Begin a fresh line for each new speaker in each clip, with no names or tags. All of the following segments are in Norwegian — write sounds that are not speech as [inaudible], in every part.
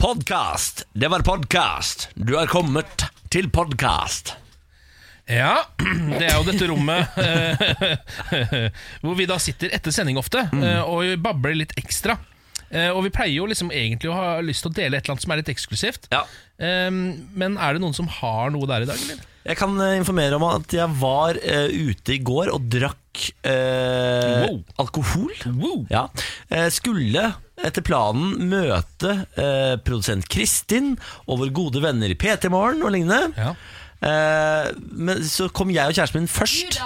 Podkast! Det var podkast. Du er kommet til podkast.
Ja, [clears throat] det er jo dette rommet eh, [laughs] hvor vi da sitter etter sending ofte
Mm.
eh, og babler litt ekstra. Eh, og vi pleier jo liksom egentlig å ha lyst til å dele et eller annet som er litt eksklusivt.
Ja.
Eh, men er det noen som har noe der i dag, eller?
Jeg kan eh, informere om at jeg var eh, ute i går og drakk eh,
Wow.
alkohol.
Wow.
Ja. Eh, skulle etter planen møte eh, produsent Kristin og våre gode venner i PT Morgen og lignende.
Ja.
Eh, men så kom jeg og kjæresten min først.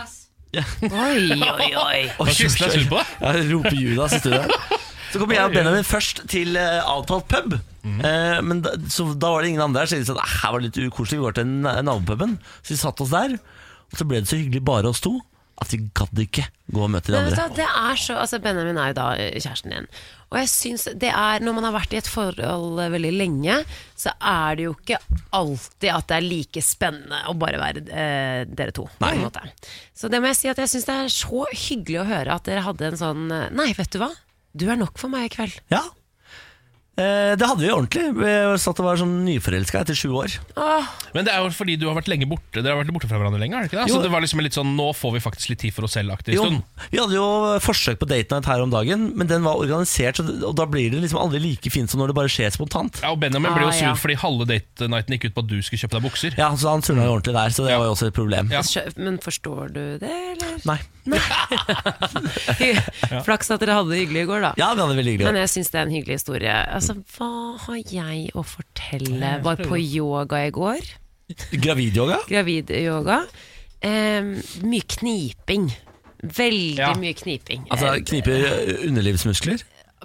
Oi, oi, oi.
Oi,
Hva syns du er synd på deg?
Ja, roper Judas i studio. Så kom jeg og Benjamin først til eh, avtalt pub.
Mhm.
Eh, men da, så da var det ingen andre her, så jeg sa her var det litt ukoselig, vi går til na- nabopuben. Så vi satte oss der, og så ble det så hyggelig bare oss to at vi gadd ikke gå og møte de
Men vet du,
andre.
hva, det er så, altså Benjamin er jo da eh, kjæresten din. Og jeg synes det er, Når man har vært i et forhold eh, veldig lenge, så er det jo ikke alltid at det er like spennende å bare være eh, dere to. På en måte. Så det må jeg si at jeg syns det er så hyggelig å høre at dere hadde en sånn eh, Nei, vet du hva? Du er nok for meg i kveld.
Ja. Eh, det hadde vi ordentlig. Vi satt og var sånn nyforelska etter sju år.
Åh,
Ah.
Men det er jo fordi du har vært lenge borte Dere har vært borte fra hverandre lenge, er det ikke det?
Jo.
Så det var liksom litt sånn Nå får vi faktisk litt tid for oss selv-aktig
Jo,
stund.
vi hadde jo forsøk på date night her om dagen, men den var organisert, så- og da blir det liksom aldri like fint som når det bare skjer spontant.
Ja, og Benjamin ble
Ah,
jo sur
ja.
fordi halve date-nighten gikk ut på at du skulle kjøpe deg bukser.
Ja, så han surna jo ordentlig der, så det var jo også et problem.
Ja.
skjø- Men forstår du det, eller?
Nei. [laughs]
[laughs] Flaks at dere hadde det hyggelig i går, da.
Ja, vi hadde det veldig hyggelig.
Men jeg syns det er en hyggelig historie. Altså, Hva har jeg å fortelle? Var på yoga i går.
Gravidyoga?
Gravidyoga. Um, mye kniping. Veldig
Ja.
mye kniping.
Altså
Eh,
kniper underlivsmuskler?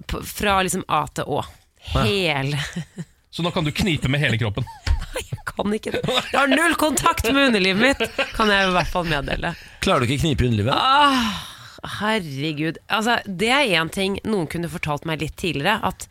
på- fra liksom A til Å. Hele [laughs]
Så nå kan du knipe med hele kroppen.
Nei, jeg kan ikke det. Jeg har null kontakt med underlivet mitt, kan jeg i hvert fall meddele.
Klarer du ikke knipe i underlivet?
Åh, Ah, herregud. Altså, det er én ting noen kunne fortalt meg litt tidligere. At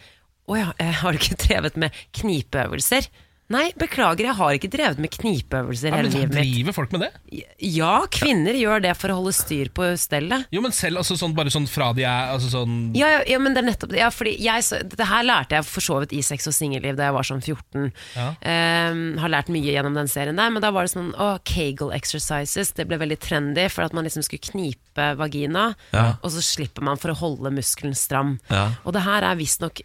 å ja, eh, har du ikke drevet med knipeøvelser? Nei, beklager, jeg har ikke drevet med knipeøvelser
Ja,
hele
men
livet mitt.
driver folk med det?
Ja, kvinner gjør det for å holde styr på stellet.
Jo, men selv altså, sånn, bare sånn fra de er altså, sånn,
Ja, ja, ja, men det er nettopp det. Ja, fordi jeg, så- det her lærte jeg for så vidt i sex og singelliv da jeg var sånn 14.
Ja.
Ehm, har lært mye gjennom den serien der, men da var det sånn å, Kegel exercises. Det ble veldig trendy for at man liksom skulle knipe vagina,
Ja.
og så slipper man for å holde muskelen stram.
Ja.
Og det her er visstnok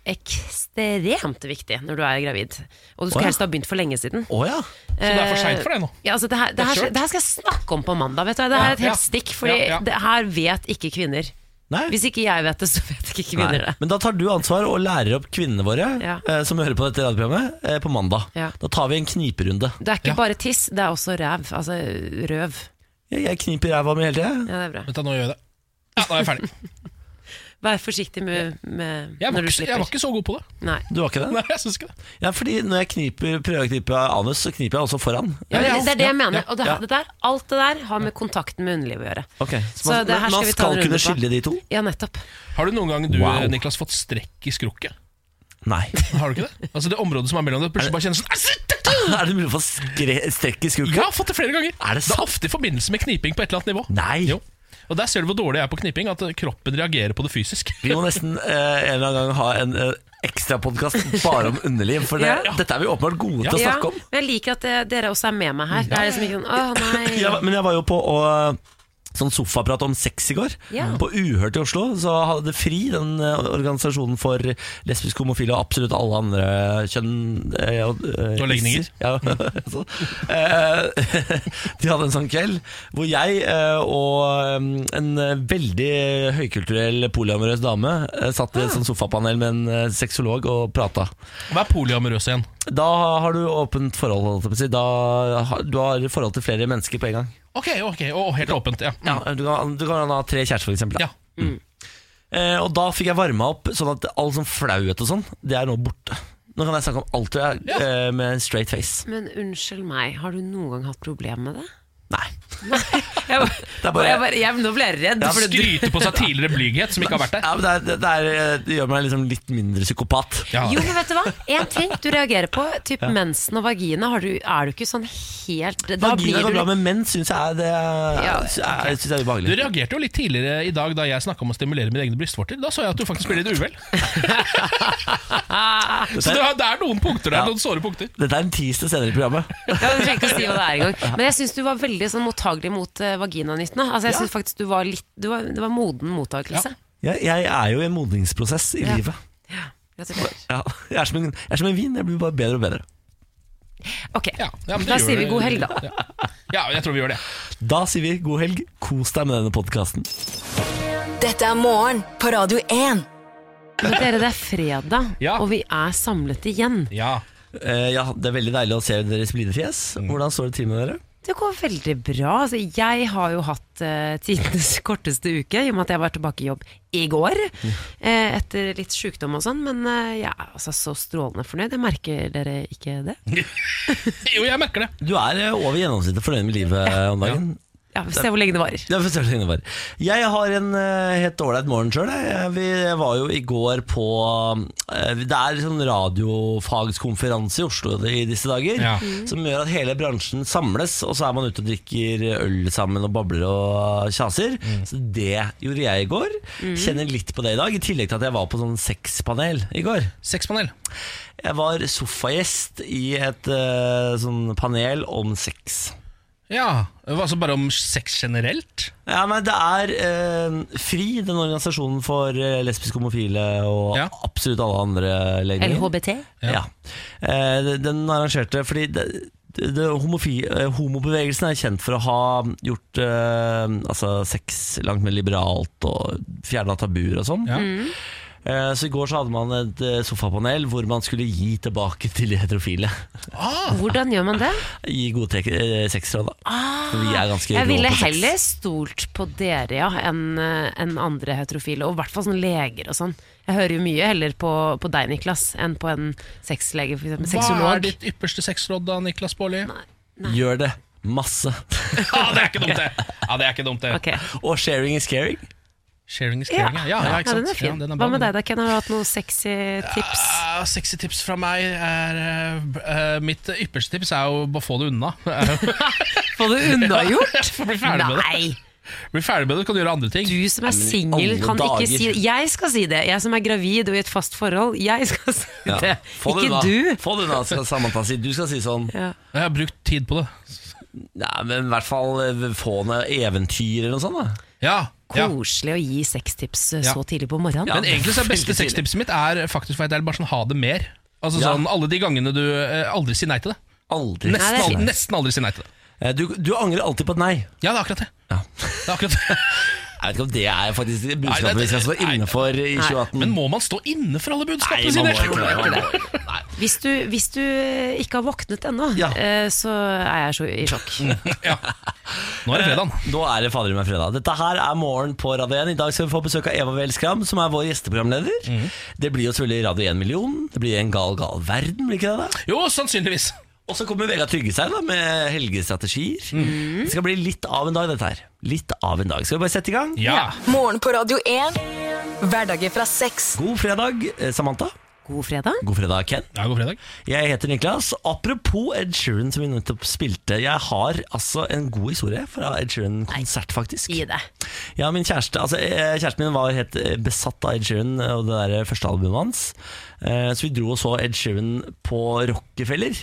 ekstremt viktig når du er gravid. Og du
Å,
skulle
ja.
helst ha begynt for lenge siden.
Å ja.
Så det er for seint for deg nå.
Ja, altså det, her, det, her,
Sure.
det her skal jeg snakke om på mandag. Vet du. Det her er et
Ja,
helt
ja.
stikk, Fordi
Ja, ja.
det her vet ikke kvinner.
Nei.
Hvis ikke jeg vet det, så vet ikke
Nei.
kvinner det.
Men da tar du ansvar og lærer opp kvinnene våre
Ja.
eh, som hører på dette radioprogrammet, eh, på mandag.
Ja.
Da tar vi en kniperunde.
Det er ikke
Ja.
bare tiss, det er også ræv. Altså røv.
Jeg, jeg kniper ræva mi hele tida.
Ja, det er bra.
Vent da, nå gjør jeg det. Ja, nå er jeg ferdig.
[laughs] Vær forsiktig med, med
Jeg var,
når
ikke, jeg
du
var
slipper.
ikke så god på det.
Nei.
Du var ikke det?
Nei, jeg synes ikke det.
Ja, fordi når jeg kniper, prøver å knipe anus, så kniper jeg også foran.
Ja,
Ja,
men det er det jeg
ja,
mener. Og det,
ja.
det der, alt det der har med kontakten med underlivet å gjøre.
Ok,
Så
Så man,
det her skal vi ta
man
en
skal
runde
kunne
på.
skille de to?
Ja, nettopp.
Har du noen gang du,
Wow.
Niklas, fått strekk i skrukket?
Nei.
[laughs] Har du ikke det? Altså Det området som er mellom det, plutselig bare kjennes sånn «Æsj, dette!»
[laughs] er det mulig å få skre, strekk i
Jeg
skurken?
har fått det flere ganger.
Er det
det er ofte i forbindelse med kniping på et eller annet nivå.
Nei.
Jo. Og Der ser du hvor dårlig jeg er på kniping, at kroppen reagerer på det fysisk.
Vi må
[laughs]
nesten eh, en eller annen gang ha en eh, ekstra ekstrapodkast bare om underliv, for det,
Ja.
dette er vi åpenbart gode til å
Ja,
snakke om.
men jeg liker at eh, dere også er med meg
Mm.
her. Det er liksom ikke sånn åh, nei.
[laughs] Ja, men jeg var jo på å- Sånn sofaprat om sex i går
Ja.
På Uhørt i Oslo Så hadde FRI Den eh, organisasjonen for lesbisk, homofile Og absolutt alle andre kjønn eh, Og eh,
Og legninger.
isser. ja, [laughs] altså. Eh, [laughs] De hadde en sånn kveld Hvor jeg eh, og em, En eh, veldig høykulturell Polyamorøs dame eh, Satt
Ah.
i et sånn sofapanel med en eh, seksolog Og pratet
Vær polyamorøs igjen.
Da har du åpent forhold holdt jeg på å si. Da, har- Du har forhold til flere mennesker på en gang
Ok, ok, og helt åpent. ja
ja, du, kan, du kan ha tre kjærester, for eksempel. da. Mm.
Ja.
Eh, og da fikk jeg varma opp, sånn at all sånn flauhet og sånn, det er nå borte. Nå kan jeg snakke om alt jeg,
Ja.
eh, med en straight face.
Men unnskyld meg, har du noen gang hatt problemer med det?
Nei.
Nei. [laughs] Jeg Jeg, var-
er bare-
jeg, bare, jeg, nå ble jeg redd.
Ja,
fordi du-
Skryte på seg tidligere blyghet som ikke har vært der.
Ja, men det, er, det, er, det gjør meg liksom litt mindre psykopat.
Ja.
Jo, men vet du hva? En ting du reagerer på, typ mensen og vagina, har du, er du ikke sånn helt Da
Vagina
blir
går
du
bra, men menn syns jeg er, det,
Ja,
synes jeg, synes jeg er
Du
ubehagelig.
reagerte jo litt tidligere i dag da jeg snakka om å stimulere mine egne brystvorter. Da så jeg at du faktisk ble litt
[laughs]
uvel. Så det er- det er noen punkter der,
Ja.
noen såre punkter.
Dette er en tease senere i programmet.
Ja, du trenger ikke å si hva det er engang. Men jeg syns du var veldig sånn mottagelig mot eh, vaginanyttene. Altså, jeg
Ja.
synes faktisk du var litt du var, Det var moden mottakelse.
Jeg, jeg er jo i en modningsprosess i
Ja.
livet.
Ja. Gratulerer.
Ja, jeg, er som en, jeg er som en vin, jeg blir bare bedre og bedre.
Ok,
Ja, ja, men det
da
gjør
sier vi
det-
god helg, da.
Ja. ja, jeg tror vi gjør det.
Da sier vi god helg, kos deg med denne podkasten.
Dette er morgen på Radio 1.
Men dere, det er fredag,
Ja.
og vi er samlet igjen.
Ja. Mm.
Eh, ja, det er veldig deilig å se deres blide fjes. Hvordan står det til med dere?
Det går veldig bra. Altså, jeg har jo hatt uh, tidenes [laughs] korteste uke, i og med at jeg var tilbake i jobb i går. eh, etter litt sykdom og sånn, men eh, jeg er altså så strålende fornøyd. Jeg merker dere ikke det?
[laughs] Jo, jeg merker det.
Du er eh, over gjennomsnittet fornøyd med livet eh, om dagen.
Ja, vi får se hvor lenge det varer.
Ja, for å si det bare. Jeg har en eh, helt ålreit morgen sjøl. Vi var jo i går på eh, Det er sånn radiofagskonferanse i Oslo i disse dager.
Ja.
Mm.
Som gjør at hele bransjen samles, og så er man ute og drikker øl sammen og babler og kjaser. Så det gjorde jeg i går.
Mm.
Kjenner litt på det i dag, i tillegg til at jeg var på sånn sexpanel i går.
Sexpanel.
Jeg var sofagjest i et eh, sånn panel om sex.
Ja, altså Bare om sex generelt?
Ja, nei, Det er eh, FRI, den organisasjonen for eh, lesbiske, homofile og
Ja.
absolutt alle andre legninger.
LHBT?
Ja. Eh, de- den arrangerte fordi det, det, det homofi, eh, homobevegelsen er kjent for å ha gjort eh, altså sex langt mer liberalt og fjerna tabuer og sånn.
Ja.
Mm.
Eh, så i går så hadde man et eh, sofapanel hvor man skulle gi tilbake til de heterofile. [laughs]
Ah,
Hvordan gjør man det?
Gi gode tek- eh, sexråd, da. For vi er ganske
Ah, Jeg
rå
ville
på sex.
heller stolt på dere ja, enn eh, enn andre heterofile, og i hvert fall sånn leger og sånn. Jeg hører jo mye heller på, på deg, Niklas, enn på en sexlege, for eksempel
hva er
sexolog.
ditt ypperste sexråd, da, Niklas Baarli?
Gjør det masse.
Ah, det er ikke dumt, det! Ja, det er ikke dumt det
Ok.
[laughs] og sharing is caring.
Sharing is caring. Ja, ja, ja, ikke
Ja,
sant?
den er fin.
Ja, den er bra,
Hva med
den.
deg da, Ken? Har du hatt noen sexy tips?
Ah, sexy tips fra meg er eh, eh, Mitt ypperste tips er jo bare få det unna.
[laughs] Få det
[laughs]
unnagjort?
Få bli ferdig med det.
Nei!
Bli ferdig med det, kan du gjøre andre ting.
Du som er
men i
singel,
alle
kan
dager.
ikke si det. Jeg skal si det. Jeg som er gravid og i et fast forhold, jeg skal si
Ja.
det.
Få det
Ikke
unna.
du.
Få det unna, skal Samantha si. Du skal si sånn
Ja.
Jeg har brukt tid på det.
Nei, men i hvert fall eh, få ned eventyr eller noe sånt. da
Ja, ja.
Koselig å gi sextips eh,
Ja.
så tidlig på morgenen.
Men egentlig så er
Veldig
beste
tidlig.
sextipset mitt er faktisk for at det er bare sånn ha det mer. Altså
Ja.
sånn Alle de gangene du eh, aldri sier nei til det.
Aldri.
Nesten,
det er
aldri,
fint.
nesten aldri sier nei til det.
Eh, Du, du angrer alltid på et nei.
Ja, det er akkurat det.
Ja.
det, er akkurat det.
Jeg vet ikke om det er faktisk det
Nei, det-
budskapet sånn vi skal stå
nei.
innenfor i
Nei.
2018.
Men må man stå inne for alle
nei,
budskapene
man
sine?
må ikke det. Man må ikke det. Nei.
Hvis du, hvis du eh, ikke har våknet ennå,
Ja.
eh, så er jeg så i sjokk.
ja. Nå er det fredag.
Eh, Nå er det fader i meg fredag. Dette her er Morgen på Radio 1. I dag skal vi få besøk av Eva Weel Skram, som er vår gjesteprogramleder.
Mhm.
Det blir jo selvfølgelig Radio 1 million. Det blir en gal, gal verden, blir ikke det? da?
Jo, sannsynligvis.
Og så kommer Vegard Tryggeseid da, med helgestrategier.
Mhm.
Det skal bli litt av en dag, dette her. Litt av en dag. Skal vi bare sette i gang?
Ja.
Morgen på Radio 1. Hverdager fra seks.
God fredag, eh, Samantha.
God fredag.
God fredag, Ken.
ja, god fredag.
Jeg heter Niklas. Apropos Ed Sheeran, som vi nettopp spilte. Jeg har altså en god historie fra Ed Sheeran-konsert, faktisk.
Gi det.
Ja, min kjæreste altså, eh, Kjæresten min var helt eh, besatt av Ed Sheeran og det der første albumet hans. Eh, Så vi dro og så Ed Sheeran på Rockefeller.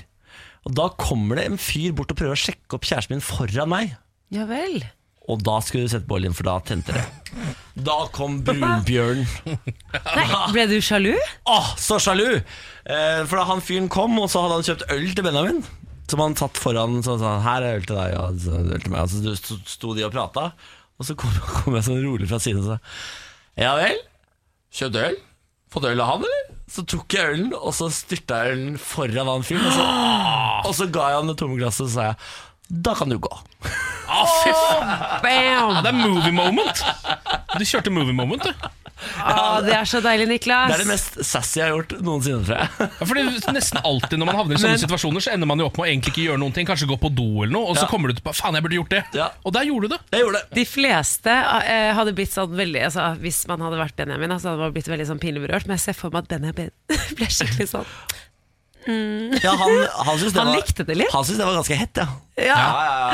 Og da kommer det en fyr bort og prøver å sjekke opp kjæresten min foran meg.
Ja vel.
Og da skulle du sette på oljen, for da tente det. [laughs] Da kom brunbjørnen.
Nei, ble du sjalu?
Åh, så sjalu! Eh, for da han fyren kom, og så hadde han kjøpt øl til Benjamin. Som han satt foran så sa han, her er øl til deg, og så er det øl til meg. Og så sto- sto de og prata, og så kom, [laughs] kom jeg sånn rolig fra siden og sa ja vel, kjøpt øl? Fått øl av han, eller? Så tok jeg ølen, og så styrta jeg ølen foran han fyren.
[gasps]
Og, så- og så ga jeg han det tomme glasset, og så sa jeg da kan du gå.
Ah, fy faen.
Bam!
Det er movie moment. Du kjørte movie moment, du.
Å, det er så deilig, Niklas.
Det er det mest sassy jeg har gjort noensinne, tror jeg.
Ja, for det er Nesten alltid når man havner i sånne situasjoner, så ender man jo opp med å egentlig ikke gjøre noen ting. Kanskje gå på do eller noe, og så
Ja.
kommer du til på, faen, jeg burde gjort det.
Ja.
Og der gjorde du det.
Jeg gjorde det.
De fleste eh, hadde blitt sånn veldig altså, Hvis man hadde vært Benjamin, altså, hadde man blitt veldig sånn pinlig berørt. Men jeg ser for meg at Benjamin [laughs] ble skikkelig sånn Mm.
Ja, han, han, syntes det
Han
var,
likte det litt.
Han syntes det var ganske hett, ja.
Ja.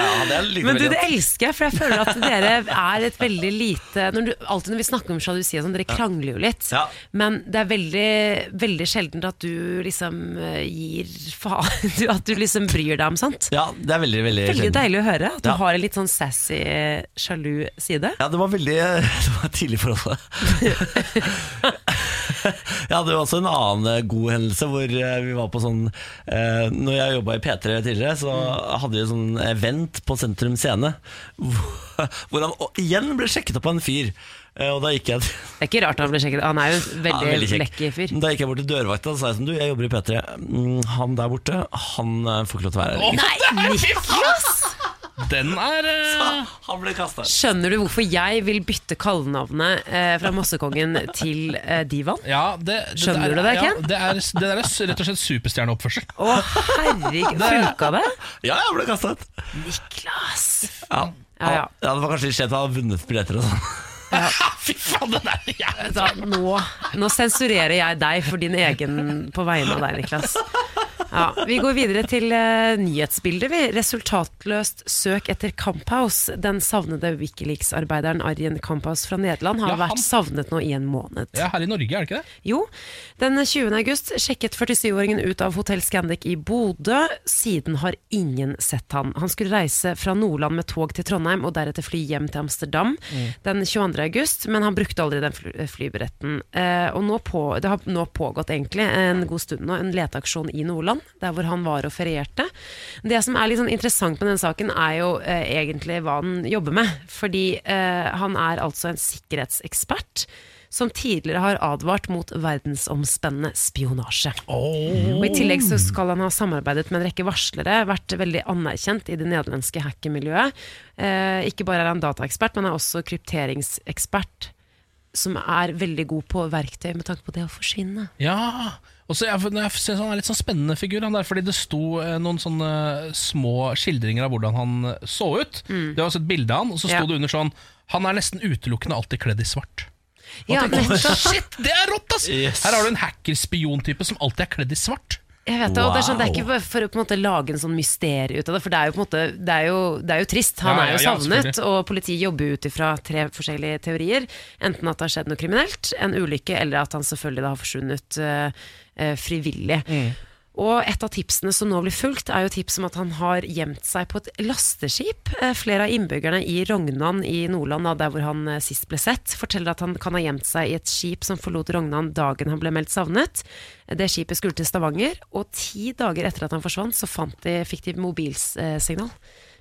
han- det likte
Men du,
veldig
det
godt.
elsker jeg, for jeg føler at dere er et veldig lite når du, Alltid når vi snakker om sjalusi og sånn, dere krangler jo litt.
Ja.
Men det er veldig, veldig sjelden at du liksom eh, gir faen du- At du liksom bryr deg om sånt.
Ja, det er veldig, veldig
Veldig
sjelden. [laughs]
deilig å høre at du
Ja.
har en litt sånn sassy, eh, sjalu side.
Ja, det var veldig Det var tidlig forhold. [laughs] jeg hadde jo også en annen eh, god hendelse hvor eh, vi var på sånn eh, Når jeg jobba i P3 tidligere, så
Mm.
hadde vi sånn event på Sentrum Scene [laughs] hvor, hvor han å- igjen ble sjekket opp av en fyr. Eh, Og da gikk jeg til
Det er ikke rart han ble sjekket. Han er jo en veldig,
ja, veldig kjekk.
lekker fyr.
Da gikk jeg bort til dørvakta og sa jeg sånn Du, jeg jobber i P3. Mm, Han der borte, han eh, får ikke lov til å være her.
Nei, Niklas! Den er eh,
Han ble kasta.
Skjønner du hvorfor jeg vil bytte kallenavnet eh, fra
[laughs]
Mossekongen til eh, Divan?
ja, det, det,
Skjønner
der-
du det,
ja,
Ken?
det, er, det der er s- rett og slett superstjerneoppførsel. [laughs]
Å, herregud. Funka det?
Ja, jeg ble kasta ut.
Niklas!
Ja.
Ja, ja.
Ja, det var kanskje litt skjevt at han hadde vunnet billetter og sånn. [laughs]
Fy faen, den er jævlig
Da, nå, nå sensurerer jeg deg for din egen på vegne av deg, Niklas. Ja, vi går videre til eh, nyhetsbildet. Vi. Resultatløst søk etter Kamphaus. Den savnede Wikileaks-arbeideren Arjen Kamphaus fra Nederland har
Ja, han-
vært savnet nå i en måned.
Ja, her i Norge, er det ikke det?
Jo, den 20. august sjekket 47-åringen ut av Hotell Scandic i Bodø. Siden har ingen sett han. Han skulle reise fra Nordland med tog til Trondheim og deretter fly hjem til Amsterdam den 22. august, men han brukte aldri den fly flybilletten. Eh, og nå på, det har nå pågått egentlig en god stund nå, en leteaksjon i Nordland, der hvor han var og ferierte. Det som er litt sånn interessant med den saken, er jo eh, egentlig hva han jobber med. Fordi eh, han er altså en sikkerhetsekspert som tidligere har advart mot verdensomspennende spionasje. Og I tillegg så skal han ha samarbeidet med en rekke varslere, vært veldig anerkjent i det nederlandske hackermiljøet. Eh, ikke bare er han dataekspert, men han er også krypteringsekspert. Som er veldig god på verktøy med tanke på det å forsvinne.
Ja, og så jeg, jeg synes han er litt sånn spennende figur han der, Fordi det sto eh, noen sånne små skildringer av hvordan han eh, så ut Det var også et bilde av han, og så sto
Mm. Ja.
det under sånn Han er nesten utelukkende alltid kledd i svart
Ja, nettopp.
Shit, det er rått ass
Yes.
Her har du en hacker-spion-type som alltid er kledd i svart
Jeg vet det, og det, er sånn, det er
Wow.
ikke bare for å på en måte lage en sånn mysterie ut av det, for det er jo, på en måte, det er jo, det er jo trist. Han
Ja,
er jo
ja, ja,
savnet,
selvfølgelig.
og politiet jobber ut ifra tre forskjellige teorier. Enten at det har skjedd noe kriminelt, en ulykke, eller at han selvfølgelig da har forsvunnet eh, eh, frivillig. Og et av tipsene som nå blir fulgt, er jo tips om at han har gjemt seg på et lasteskip. Eh, Flere av innbyggerne i Rognan i Nordland, da, der hvor han eh, sist ble sett, forteller at han kan ha gjemt seg i et skip som forlot Rognan dagen han ble meldt savnet. Det skipet skulle til Stavanger, og ti dager etter at han forsvant, så fant de, fikk de mobilsignal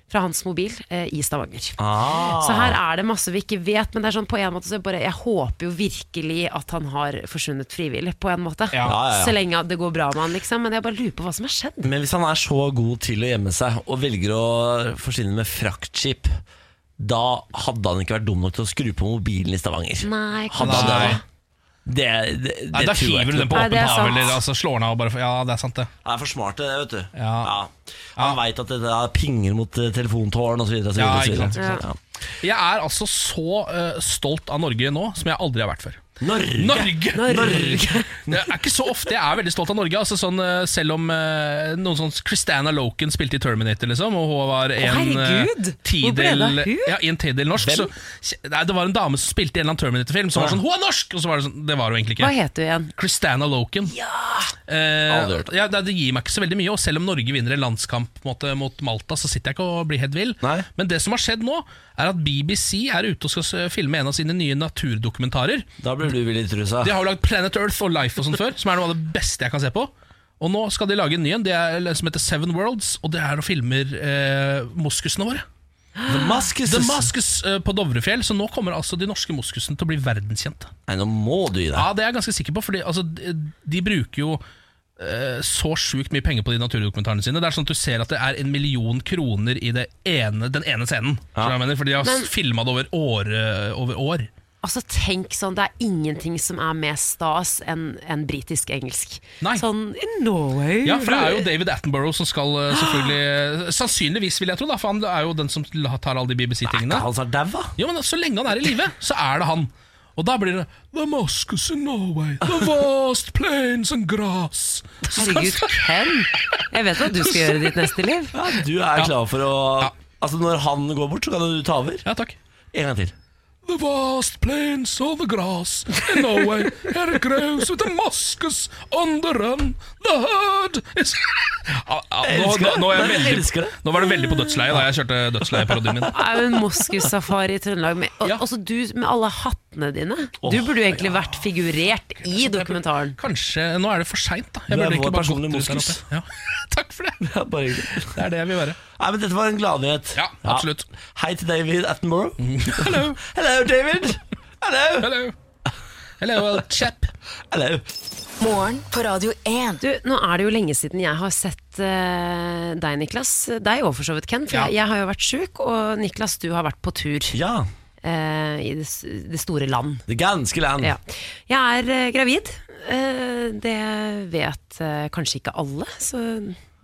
fra hans mobil eh, i Stavanger.
Ah.
Så her er det masse vi ikke vet, men det er sånn på en måte så jeg bare, jeg håper jo virkelig at han har forsvunnet frivillig, på en måte.
Ja.
Ja, ja, ja.
Så lenge det går bra med han, liksom. Men jeg bare lurer på hva som har skjedd.
Men hvis han er så god til å gjemme seg og velger å forsvinne med fraktskip, da hadde han ikke vært dum nok til å skru på mobilen i Stavanger.
Nei,
Hadde han
Nei.
det, det, det, det,
Nei, da
tror jeg
hiver du
ikke
den
noe
på
Nei,
åpen
det er
hav
sant.
Eller altså, slår den av og bare for, Ja, det er sant det
Han er for smart til det, eh, vet du.
Ja.
Han
Ja.
veit at det er pinger mot eh, telefontårn osv.
Ja, ikke sant, ikke Jeg er altså så eh, stolt av Norge nå Som jeg aldri har vært før
Norge!
Norge!
Norge.
[laughs] Det er ikke så ofte jeg er veldig stolt av Norge. Altså sånn, eh, selv om eh, noen sånn Christana Loken spilte i Terminator, liksom, og hun var en eh,
herregud! Hvor ble det
tidel,
av hun?
ja, i en tidel norsk så,
Hvem?
nei, Det var en dame som spilte i en eller annen Terminator-film som var sånn 'Hun er norsk!' Og så var det sånn Det var hun egentlig
Hva
ikke.
het du igjen?
Christana Loken. Eh,
Aldri hørt om.
ja, det, det gir meg ikke så veldig mye, og selv om Norge vinner en landskamp på en måte, mot Malta, så sitter jeg ikke og blir helt vill.
Nei.
Men det som har skjedd nå, er at BBC er ute og skal s- filme en av sine nye naturdokumentarer.
Da blir du vill i trusa.
De har jo lagd Planet Earth og Life og sånt før, som er noe av det beste jeg kan se på. Og nå skal de lage en ny en, det er, som heter Seven Worlds, og det er og filmer eh, moskusene våre.
The Muskets.
The Maskus eh, på Dovrefjell, så nå kommer altså de norske moskusene til å bli verdenskjente.
Nei, nå må du gi deg.
Ja, det er jeg ganske sikker på, for altså, de, de bruker jo eh, så sjukt mye penger på de naturdokumentarene sine. Det er sånn at Du ser at det er en million kroner i det ene, den ene scenen. Skjønner du hva jeg mener? For de har filma det over, år, eh, over år.
Altså tenk sånn, Det er ingenting som er mer stas enn enn britisk-engelsk.
Nei.
Sånn in Norway
Ja, for det er jo David Attenborough som skal eh, selvfølgelig Sannsynligvis, vil jeg tro, da, for han er jo den som tar alle de BBC-tingene.
Han sa daua.
Jo, men Så lenge han er i live, så er det han. Og da blir det The mosques in Norway, the vast plains and grass.
Herregud, Ken. Jeg vet hva du skal gjøre i ditt neste liv.
Ja, du er klar for å Altså Når han går bort, så kan du ta over.
Ja, takk.
En gang til.
The vast plains of the grass in Norway, here it grows with the mosques on the run, the herd is Ah, ah, nå,
elsker
nå,
det.
nå, er jeg
Jeg elsker
veldig,
det.
nå var det veldig på dødsleiet da jeg kjørte dødsleieparodien min.
er jo en moskussafari i Trøndelag. Med, og,
Ja.
Også du med alle hattene dine. Du burde jo egentlig vært figurert i dokumentaren.
Kanskje, Nå er det for seint, da. Jeg
Du er
burde
vår
egentlig bare
personlige
gått ut der
moskus.
oppe. Ja. [laughs] Takk for det.
Ja, bare hyggelig.
Det er det jeg vil være.
Nei, men Dette var en gladnyhet.
Ja, absolutt.
Hei til David Attenborough.
[laughs] Hello.
Hello, David. Hello.
Hello. Hello, old chap.
Hello.
Morgen på Radio 1.
Du, Nå er det jo lenge siden jeg har sett eh, deg, Niklas. Deg og for så vidt, Ken. For
Ja.
jeg, jeg har jo vært sjuk, og Niklas, du har vært på tur
Ja,
eh, i det, s- det store land.
det ganske land.
Ja. Jeg er eh, gravid. Eh, det vet eh, kanskje ikke alle, så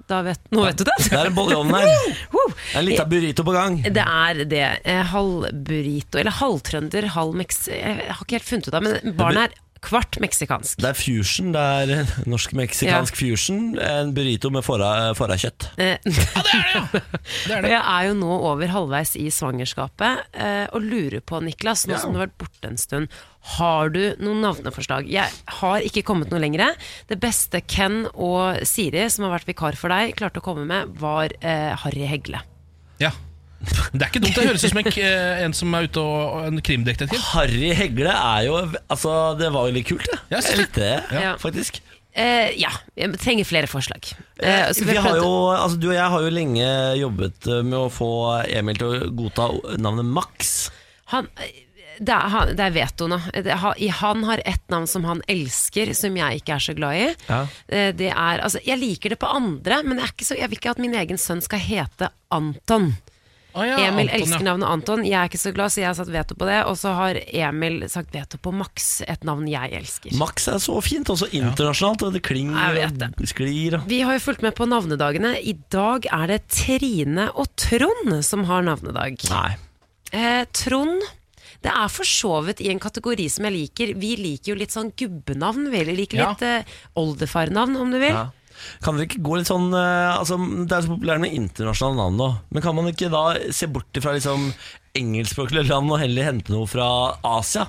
da vet, nå vet du det.
Det er en bolle i ovnen her.
Woo!
Det er En liten burrito på gang.
Det er det. Eh, Halv burrito, eller halvtrønder, halv mex... Jeg har ikke helt funnet ut av, men barnet er kvart meksikansk.
Det er fusion. Det er norsk-meksikansk fusion. En burrito med fåra- fårakjøtt.
[laughs]
Det er
Og
det.
Eh, [laughs] Jeg er jo nå over halvveis i svangerskapet eh, og lurer på, Niklas, nå som du har vært borte en stund, har du noen navneforslag? Jeg har ikke kommet noe lengre. Det beste Ken og Siri, som har vært vikar for deg, klarte å komme med, var eh, Harry Hegle.
Ja. Det er ikke dumt. Det høres ut som en, k- en som er ute og og en krimdetektiv.
Harry Hegle er jo Altså, det var jo litt kult, det.
Ja,
Jeg likte det,
Ja.
faktisk.
Eh, ja, jeg trenger flere forslag. Eh, så
vi har
prøvd-
jo, altså, du og jeg har jo lenge jobbet eh, med å få Emil til å godta navnet Max.
han, det, er, han, det er veto nå. Det, ha- i- han har ett navn som han elsker, som jeg ikke er så glad i.
Ja.
Eh, Det er, altså, jeg liker det på andre, men jeg, er ikke så, jeg vil ikke at min egen sønn skal hete Anton.
Å ja,
Emil
Anton,
elsker navnet Anton, jeg er ikke så glad, så jeg har satt veto på det. Og så har Emil sagt veto på Max, et navn jeg elsker.
Max er så fint, også internasjonalt. og Det klinger
Jeg vet
og sklir. og-
Vi har jo fulgt med på navnedagene. I dag er det Trine og Trond som har navnedag.
Nei.
Eh, Trond det er for så vidt i en kategori som jeg liker. Vi liker jo litt sånn gubbenavn. Vi liker
Ja.
litt eh, oldefarnavn, om du vil.
Ja. Kan dere ikke gå litt sånn eh, altså, Det er så populært med internasjonale navn nå, men kan man ikke da se bort fra liksom, engelskspråklige land og heller hente noe fra Asia?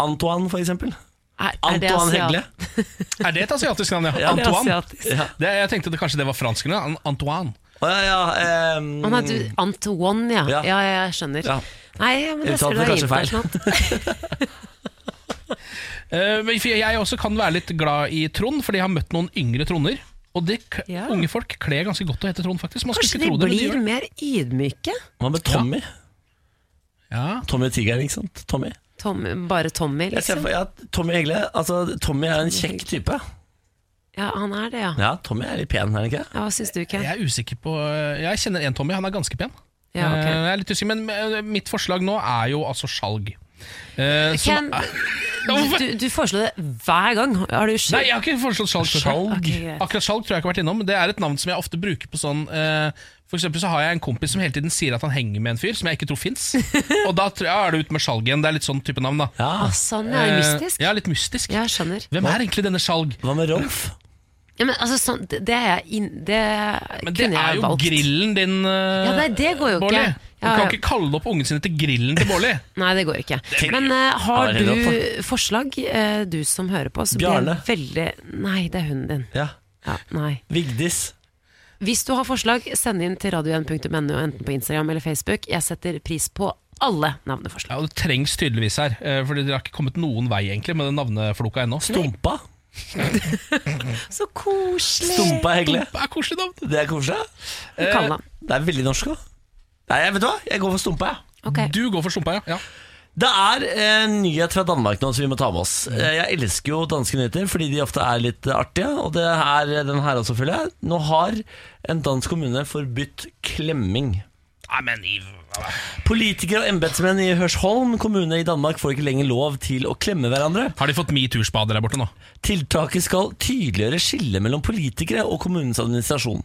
Antoine, for eksempel.
Er, er det
Antoine
asiat-
Hegle.
ja. Er det et asiatisk navn, ja?
Ja,
det er
Antoine.
asiatisk.
Ja.
Det, jeg tenkte det, kanskje det var fransk eller noe. Antoine.
Å, ja, ja, ehm,
Å, nei, du, Antoine, ja. ja.
Ja.
Ja, jeg skjønner.
Ja.
Nei, ja, men det skulle
Uttalte
være
kanskje feil.
internasjonalt.
Eh, men for jeg også kan være litt glad i Trond, fordi jeg har møtt noen yngre Tronder. Og det, k-
Ja.
unge folk kler ganske godt å hete Trond, faktisk. Man skulle
Kanskje
ikke
de
tro det, men de
blir
gjør det.
mer ydmyke?
Hva med Tommy?
Ja.
Tommy Tigeren, ikke sant? Tommy.
Tom, bare Tommy,
Jeg ser
liksom?
for ja, Tommy Hegle. Altså, Tommy er en kjekk type.
Ja, han er det, ja.
Ja, Tommy er litt pen, er han ikke?
ja hva syns du, Ken?
Jeg er usikker på eh, Jeg kjenner en Tommy, han er ganske pen.
Ja, ok.
Eh, Jeg er litt usikker, men eh, mitt forslag nå er jo altså Skjalg. Eh, som-
Ken,
[laughs]
du, du, du foreslår det hver gang. Har du
Nei, jeg har ikke foreslått Skjalg. før.
Skjalg?
Ok, greit.
Akkurat Skjalg tror jeg ikke jeg har vært innom. men Det er et navn som jeg ofte bruker på sånn eh, For eksempel så har jeg en kompis som hele tiden sier at han henger med en fyr som jeg ikke tror
[laughs]
fins. Og da tror jeg, ja, er du ute med Skjalg igjen. Det er litt sånn type navn, da.
Ja.
Sånn, ja.
Eh,
Mystisk.
Ja, litt mystisk.
Ja, skjønner.
Hvem er egentlig denne Skjalg?
Hva med Rolf?
Ja, men altså, sånn, det, det, er jeg inn- det
Men det
kunne
er
jeg
jo
valgt.
grillen din, eh,
Ja, nei, det går jo
Bårli.
ikke.
Du
Ja,
kan
ja.
ikke kalle opp ungen sin etter grillen til Bårli.
Nei, det går ikke. Men eh,
Ja,
har
det er helt
du forslag, eh, du som hører på, så blir jeg veldig Nei, det er hunden din.
Ja.
Ja, nei.
Vigdis.
Hvis du har forslag, send inn til radio1.no, enten på Instagram eller Facebook. Jeg setter pris på alle navneforslag.
Ja, og Det trengs tydeligvis her, eh, Fordi dere har ikke kommet noen vei egentlig med den navnefloka ennå.
Stumpa.
[laughs] Så koselig!
Stumpa Hegle.
Det er koselig navn.
Det er koselig. Eh,
Kall den.
Det er veldig norsk òg. Nei, jeg- vet du hva? Jeg går for stumpa, jeg.
Ok.
Du går for stumpa, ja. ja.
Det er en nyhet fra Danmark nå som vi må ta med oss. Eh, Jeg elsker jo danske nyheter fordi de ofte er litt eh, artige, og det er den her også, føler jeg. Nå har en dansk kommune forbudt klemming.
Nei, men i
Politikere og embetsmenn i Hørsholm kommune i Danmark får ikke lenger lov til å klemme hverandre.
Har de fått metoo-spade der borte nå?
Tiltaket skal tydeliggjøre skillet mellom politikere og kommunens administrasjon.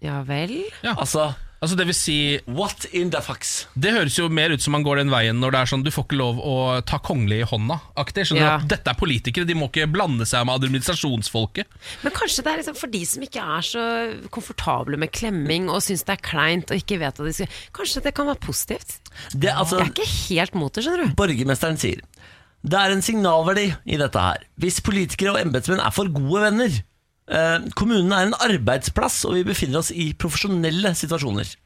Ja vel?
Altså,
Altså det vil si,
what in the fucks?
det høres jo mer ut som man går den veien når det er sånn du får ikke lov å ta kongelig i hånda. Aktig, skjønner du
Ja.
at Dette er politikere, de må ikke blande seg med administrasjonsfolket.
Men kanskje det er liksom for de som ikke er så komfortable med klemming og syns det er kleint og ikke vet hva de skal Kanskje det kan være positivt?
Det, er altså,
Jeg er ikke helt mot det, skjønner du.
Borgermesteren sier Det er en signalverdi i dette her Hvis politikere og embetsmenn er for gode venner eh, Kommunen er en arbeidsplass Og vi befinner oss i profesjonelle situasjoner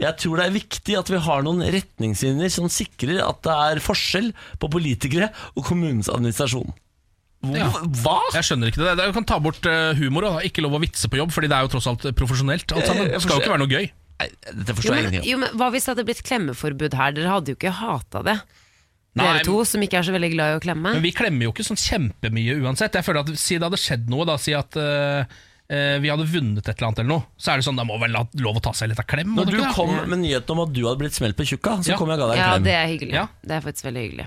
jeg tror det er viktig at vi har noen retningslinjer som sikrer at det er forskjell på politikere og kommunens administrasjon. Hvor,
Ja.
Hva?
Jeg skjønner ikke det. det. er- Du kan ta bort eh, humor og da. ikke lov å vitse på jobb, Fordi det er jo tross alt eh, profesjonelt. Alt sammen.
Eh, Jeg- jeg
Det skal jo
forstår-
ikke være noe gøy.
Nei, dette
Jo,
forstår jeg
men,
ingenting om.
jo, men Hva hvis det hadde blitt klemmeforbud her? Dere hadde jo ikke hata det.
Nei,
Dere to som ikke er så veldig glad i å klemme.
Men vi klemmer jo ikke sånn kjempemye uansett. Jeg føler at Si det hadde skjedd noe, da. Si at eh, eh, vi hadde vunnet et eller annet, eller noe. Så er det sånn, da må vel la- lov å ta seg litt av klem? må
Når
det
du
ikke det?
kom med nyheten om at du hadde blitt smelt på tjukka, så
Ja.
kom jeg og ga deg
Ja,
en klem.
det er hyggelig.
Ja.
Det er faktisk veldig hyggelig.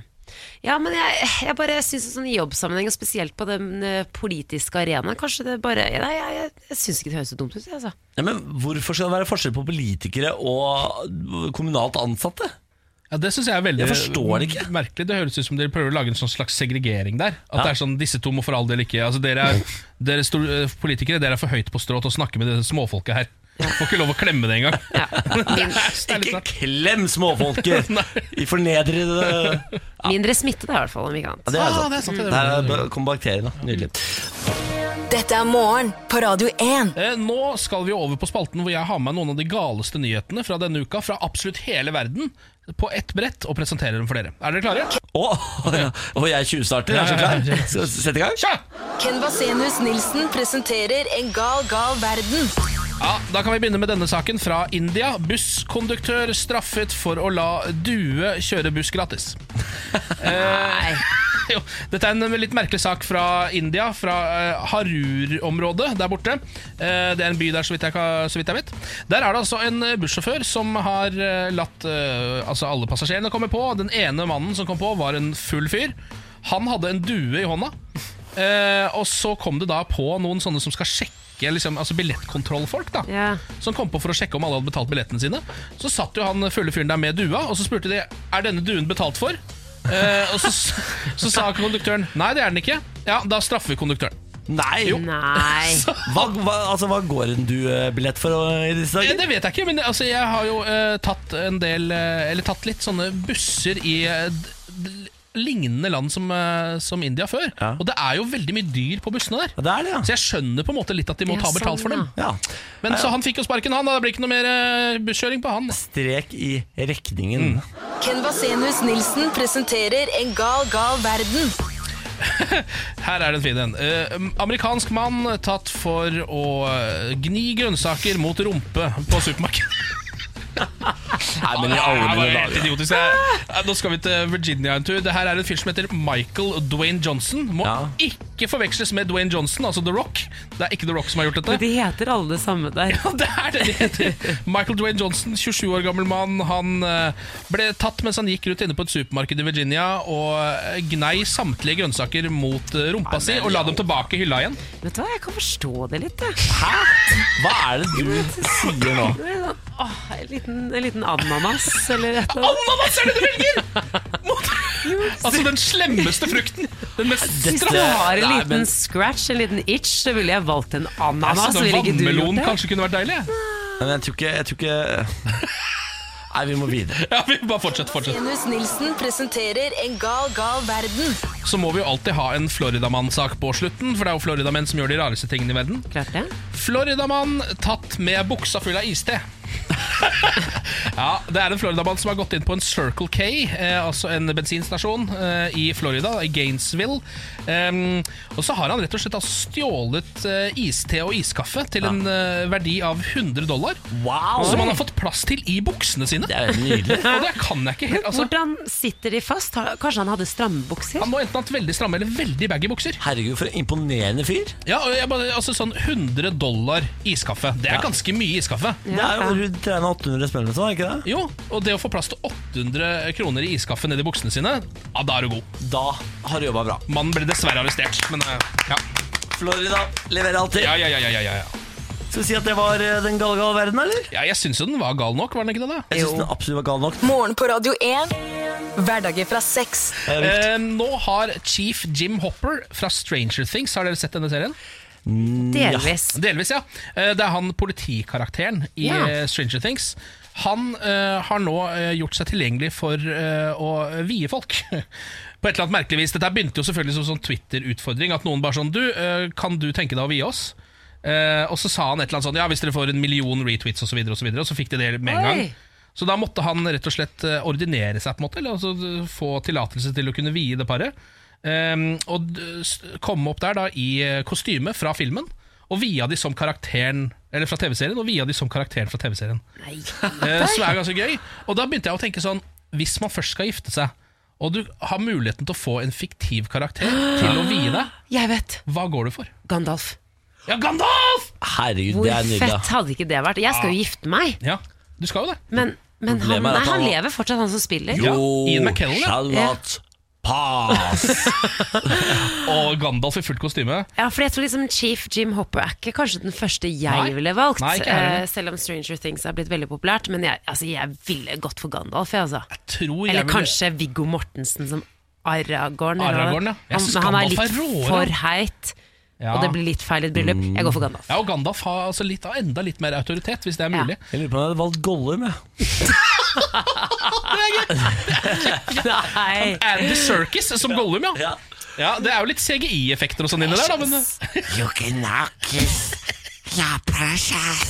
Ja, men jeg, jeg bare syns sånn i jobbsammenheng, og spesielt på den eh, politiske arenaen, kanskje det bare Nei, jeg, jeg, jeg syns ikke det høres så dumt ut, jeg, altså.
Ja, men hvorfor skal det være forskjell på politikere og kommunalt ansatte?
Ja, det synes jeg er veldig
Jeg forstår det ikke.
merkelig. Det høres ut som dere prøver å lage en sånn slags segregering der. At
Ja.
det er sånn, disse to må for all del ikke altså, dere,
[laughs]
er, dere stor, eh, politikere, dere er for høyt på strå til å snakke med det småfolket her. Får ikke lov å klemme det engang.
Ja.
[laughs]
Min,
Det er litt
Ikke
rart.
klem
[laughs]
småfolket i fornedrede
mindre smitte, da, i hvert fall, om ikke annet.
Det er
Ah, det er sant,
sant.
det er
Der kom bakteriene. Nydelig.
Dette er morgen på Radio 1.
Eh, Nå skal vi over på spalten hvor jeg har med noen av de galeste nyhetene fra denne uka, fra absolutt hele verden, på ett brett og presenterer dem for dere. Er dere klare?
Å, ja. Å, jeg tjuvstarter. Jeg er så klar. Skal vi sette i gang?
Tja!
Ken Vasenius Nilsen presenterer En gal, gal verden.
Ja, da kan vi begynne med denne saken fra India. Busskonduktør straffet for å la due kjøre buss gratis. Nei. [laughs] Jo, dette er en litt merkelig sak fra India, fra eh, Harur-området der borte. Eh, det er en by der, så vidt, jeg, ka- så vidt jeg vet. Der er det altså en eh, bussjåfør som har eh, latt eh, altså alle passasjerene komme på. Den ene mannen som kom på, var en full fyr. Han hadde en due i hånda. Eh, og så kom det da på noen sånne som skal sjekke liksom, altså billettkontrollfolk. da
Ja.
Som kom på for å sjekke om alle hadde betalt billettene sine. Så satt jo han fulle fyren der med dua, og så spurte de Er denne duen betalt for. Eh, og så, så sa konduktøren nei, det er den ikke. Ja, Da straffer vi konduktøren.
Nei.
[laughs]
Nei.
Hva, hva, altså, hva går en du-billett for eh, i disse
Eh,
dager?
Det vet jeg ikke, men altså, jeg har jo eh, tatt en del eh, Eller tatt litt sånne busser i eh, d- d- lignende land som, eh, som India før.
Ja.
Og det er jo veldig mye dyr på bussene der.
Ja, Det er det, ja.
Så jeg skjønner på en måte litt at de må
Ja,
ta betalt for
sånn,
dem.
ja.
Men så han fikk jo sparken, han. Da. Det blir ikke noe mer eh, busskjøring på han. Mm.
Strek i rekningen.
Ken Vasenius Nilsen presenterer En gal, gal verden.
Her er det en fin en. Eh, amerikansk mann tatt for å eh, gni grønnsaker mot rumpe på supermarkedet.
[laughs] Nei, men i alle
Ja, det var
mine
helt
dager.
idiotisk. Jeg- Eh, Nå skal vi til Virginia en tur. Det her er en fyr som heter Michael Dwayne Johnson. Må
Ja.
ikke forveksles med Dwayne Johnson, altså The Rock. Det er ikke The Rock som har gjort dette.
De heter alle det samme der.
[laughs] Ja, det er det det heter. Michael Dwayne Johnson, 27 år gammel mann. Han eh, ble tatt mens han gikk rundt inne på et supermarked i Virginia og eh, gnei samtlige grønnsaker mot eh, rumpa si og la dem tilbake i hylla igjen.
Vet du hva, jeg kan forstå det litt, jeg.
Hva er det du sier nå?
Det er sånn, Åh, en liten, en liten ananas eller et eller annet.
Ananas er det du velger! Mot, altså den slemmeste frukten. Den mest
Hvis
Dette-
du har en
Nei,
liten
men-
scratch, en liten itch, så ville jeg valgt en
Altså,
ananas. ville ikke du gjort
Vannmelon
det?
kanskje kunne vært deilig?
Men jeg tror ikke, jeg tror ikke... Nei, vi må videre.
Ja, vi bare fortsett, fortsett.
Vasenius Nilsen presenterer En gal, gal verden.
Så må vi jo alltid ha en Floridamann-sak på slutten, for det er jo Floridamenn som gjør de rareste tingene i verden.
Klart det.
Floridamann tatt med buksa full av iste. [laughs] ja, det er en Floridamann som har gått inn på en Circle K, eh, altså en bensinstasjon eh, i Florida, i Gainesville. Em, og så har han rett og slett altså stjålet eh, iste og iskaffe til en eh, verdi av 100 dollar.
Wow!
Som han har fått plass til i buksene sine.
Det er jo nydelig.
Og det kan jeg ikke helt. Altså,
Hvordan sitter de fast? Har- Kanskje han hadde strammebukser?
han må enten ha hatt veldig stramme eller veldig baggy bukser.
Herregud, for en imponerende fyr.
Ja, og jeg bare, altså sånn 100 dollar iskaffe. Det er ganske mye iskaffe.
Det er jo rundt 3,5 800 spenn eller sånn, er ikke det?
Jo, og det å få plass til 800 kroner i iskaffet nedi buksene sine, ja, da er du god.
Da har du jobba bra.
Mannen ble dessverre arrestert, men eh, ja.
Florida leverer alltid.
Ja, ja, ja, ja, ja, ja.
Skal vi si at det var eh, den gale, gale verden, eller?
ja jeg syns jo den var gal nok, var den ikke det? da?
Jeg syns den absolutt var gal nok.
Morgen på Radio 1. Hverdager fra seks.
Eh, nå har Chief Jim Hopper fra Stranger Things Har dere sett denne serien?
Mm,
Delvis.
Delvis, ja. Eh, det er han politikarakteren i
Ja.
eh, Stranger Things. Han eh, har nå eh, gjort seg tilgjengelig for eh, å vie folk. [laughs] På et eller annet merkelig vis. Dette her begynte jo selvfølgelig som sånn Twitter-utfordring. At noen bare sånn Du, eh, kan du tenke deg å vie oss? Eh, og så sa han et eller annet sånn Ja, hvis dere får en million retweets, og så videre, og så, videre, og så fikk de det med en gang.
Oi.
Så da måtte han rett og slett eh, ordinere seg, på en måte, eller altså eh, få tillatelse til å kunne vie det paret. Ehm, og d- s- komme opp der da i eh, kostyme fra filmen, og via de som karakteren Eller fra TV-serien, og via de som karakteren fra TV-serien.
Nei.
Eh, Så det er ganske gøy. Og da begynte jeg å tenke sånn Hvis man først skal gifte seg, og du har muligheten til å få en fiktiv karakter til å vie
[gasps]
deg,
Jeg vet.
hva går du for?
Gandalf.
Ja, Gandalf!
Herregud,
Hvor
det er nydelig.
fett hadde ikke det vært? Jeg skal jo gifte meg,
Ja, du skal jo det.
men, men han,
Problemet er at
nei, han
han-
lever fortsatt, han som spiller.
Jo. Ian McKellen, ja.
shall
Ja.
not pass.
[laughs] Og Gandalf i fullt kostyme.
Ja, for jeg tror liksom Chief Jim Hopper er ikke kanskje den første jeg
Nei.
ville valgt.
Nei, ikke jeg heller.
eh, selv om Stranger Things er blitt veldig populært. Men jeg, altså, jeg ville gått for Gandalf, jeg, altså.
Tror jeg
Eller
ville-
kanskje Viggo Mortensen som Aragorn. eller hva?
Aragorn, ja. Jeg
Han,
synes
men han er
Gandalf
litt
er råere.
for heit,
ja. Mm.
og det blir litt feil i et bryllup. Jeg går for
[laughs]
Gandalf.
Ja, og Gandalf har altså litt, enda litt mer autoritet, hvis det er
Ja.
mulig.
Jeg lurer på om jeg hadde valgt
[laughs]
Gollum, jeg.
Nei.
Andy Serkis som Gollum, ja.
Ja.
ja. Det er jo litt CGI-effekter og sånn inni der, da. Men,
You can not kiss your
[laughs]
precious.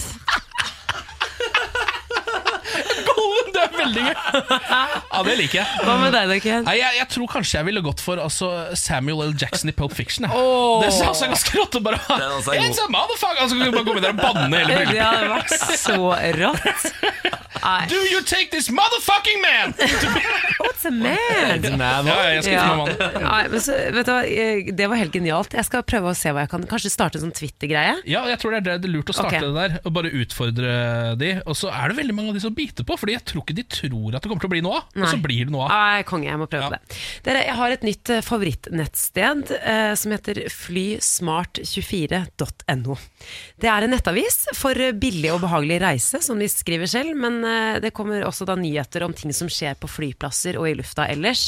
Gollum, det er veldig gøy! Ja, det liker jeg.
Hva med deg da, Ken?
Nei, jeg, jeg tror kanskje jeg ville gått for altså, Samuel L. Jackson i Pulp Fiction. jeg. Det sa seg ganske rått å bare [laughs] ha
Den også er god.
It's a motherfucker! Altså, kan du bare komme inn der og banne hele
Det
bryllupet.
hadde vært så rått. Nei.
Do you take this motherfucking man?
[laughs] What's a man?
Ja, ja, jeg skal ikke
Ja.
med mannen.
Nei, men så, vet du hva, eh, det var helt genialt. Jeg skal prøve å se hva jeg kan. Kanskje starte en sånn Twitter-greie.
Ja, jeg tror det er det- det er lurt å starte
Ok.
det der. Og bare utfordre de. Og så er det veldig mange av de som biter på, Fordi jeg tror ikke de tror at det kommer til å bli noe av. Og
Nei. Ah.
så blir det noe av.
Nei, konge, jeg må prøve
Ja.
på det. Dere, jeg har et nytt eh, favorittnettsted eh, som heter flysmart24.no. Det er en nettavis for eh, billig og behagelig reise, som de skriver selv, men eh, det kommer også da nyheter om ting som skjer på flyplasser og i lufta ellers,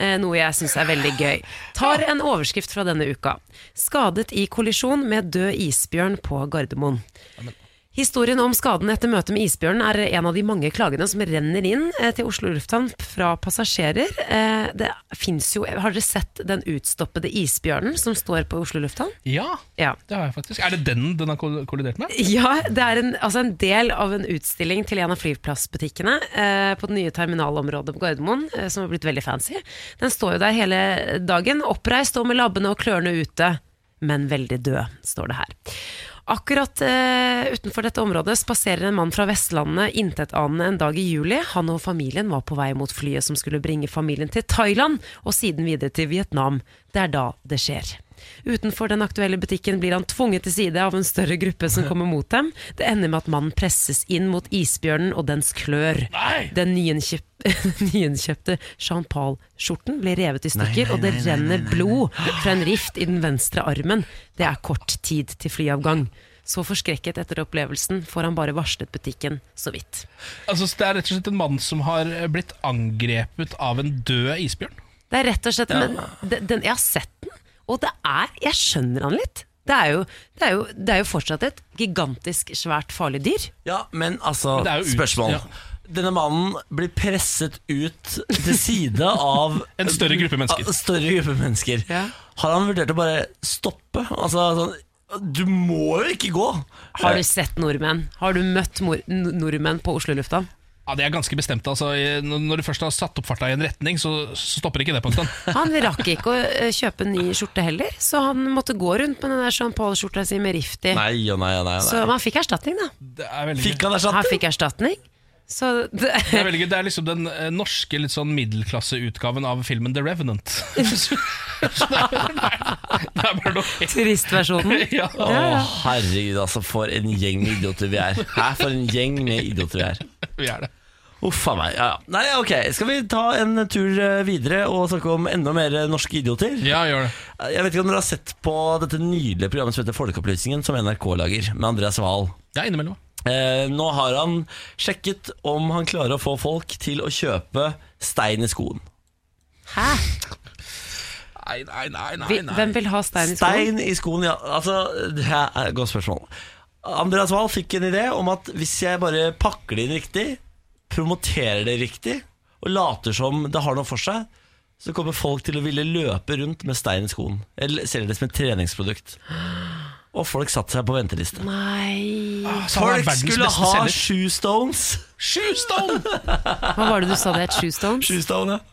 eh, noe jeg syns er veldig gøy. Tar en overskrift fra denne uka. Skadet i kollisjon med død isbjørn på Gardermoen. Historien om skaden etter møtet med isbjørnen er en av de mange klagene som renner inn eh, til Oslo lufthavn fra passasjerer. Eh, Det finnes jo, Har dere sett den utstoppede isbjørnen som står på Oslo lufthavn?
Ja,
Ja.
det har jeg faktisk. Er det den den har kol- kollidert med?
[laughs] Ja, det er en, altså en del av en utstilling til en av flyplassbutikkene eh, på det nye terminalområdet på Gardermoen, eh, som har blitt veldig fancy. Den står jo der hele dagen, oppreist og med labbene og klørne ute, men veldig død, står det her. Akkurat eh, utenfor dette området spaserer en mann fra Vestlandet intetanende en dag i juli. Han og familien var på vei mot flyet som skulle bringe familien til Thailand, og siden videre til Vietnam. Det er da det skjer. Utenfor den aktuelle butikken blir han tvunget til side av en større gruppe som kommer mot dem. Det ender med at mannen presses inn mot isbjørnen og dens klør.
Nei!
Den [laughs] nyinkjøp nyinkjøpte Jean Paul-skjorten blir revet i stykker, og det renner blod fra en rift i den venstre armen. Det er kort tid til flyavgang. Så forskrekket etter opplevelsen får han bare varslet butikken så vidt.
Altså, så det er rett og slett en mann som har eh, blitt angrepet av en død isbjørn.
Det er rett og slett Men den, den, jeg har sett den, og det er Jeg skjønner han litt. Det er, jo, det, er jo, det er jo fortsatt et gigantisk svært farlig dyr.
Ja, men altså,
Men det er jo ut-
spørsmål.
ja.
Denne mannen blir presset ut til side av
[laughs] En større gruppe mennesker.
Av en større gruppe mennesker.
Ja.
Har han vurdert å bare stoppe? Altså, sånn, du må jo ikke gå!
Har du sett nordmenn? Har du møtt mor n- nordmenn på Oslo lufthavn?
Ja, Det er ganske bestemt. altså I- Når når du først har satt opp farta i en retning, så så stopper ikke det på en
[laughs]
stund.
Han rakk ikke å eh, kjøpe en ny skjorte heller, så han måtte gå rundt med den der Jean Paul-skjorta si med rift i.
Nei og nei og nei. og nei.
Eh. Så man fikk erstatning, da.
Det er veldig gøy.
Fikk han
Han
erstatning?
fikk erstatning. Så
[laughs]
det,
Det er veldig gøy, det er liksom den eh, norske litt sånn middelklasseutgaven av filmen The Revenant. [laughs] Så det er det er bare
[laughs]
noe helt-
turistversjonen.
ja.
Å, herregud, altså, for en gjeng med idioter vi er. Hæ, for en gjeng med idioter vi er.
Vi er det.
Uff a meg. Ja, ja. Nei, ok, skal vi ta en tur eh, videre og snakke om enda mer eh, norske idioter? Eh,
Ja, gjør det.
Jeg vet ikke om dere har sett på dette nydelige programmet som heter Folkeopplysningen, som NRK lager, med Andreas Wahl.
Ja, innimellom.
Eh, nå har han sjekket om han klarer å få folk til å kjøpe stein i skoen.
Hæ?
Nei, nei, nei,
Vi, hvem vil ha stein i skoen?
Stein i skoen, ja. Altså, det er et godt spørsmål. Andreas Wahl fikk en idé om at hvis jeg bare pakker det inn riktig, promoterer det riktig, og later som det har noe for seg, så kommer folk til å ville løpe rundt med stein i skoen. Eller selger det som et treningsprodukt. Og folk satte seg på venteliste.
Nei
Folk skulle ha shoe stones.
Shoestone!
Hva var det du sa det het? Shoestones?
Shoe stone, ja.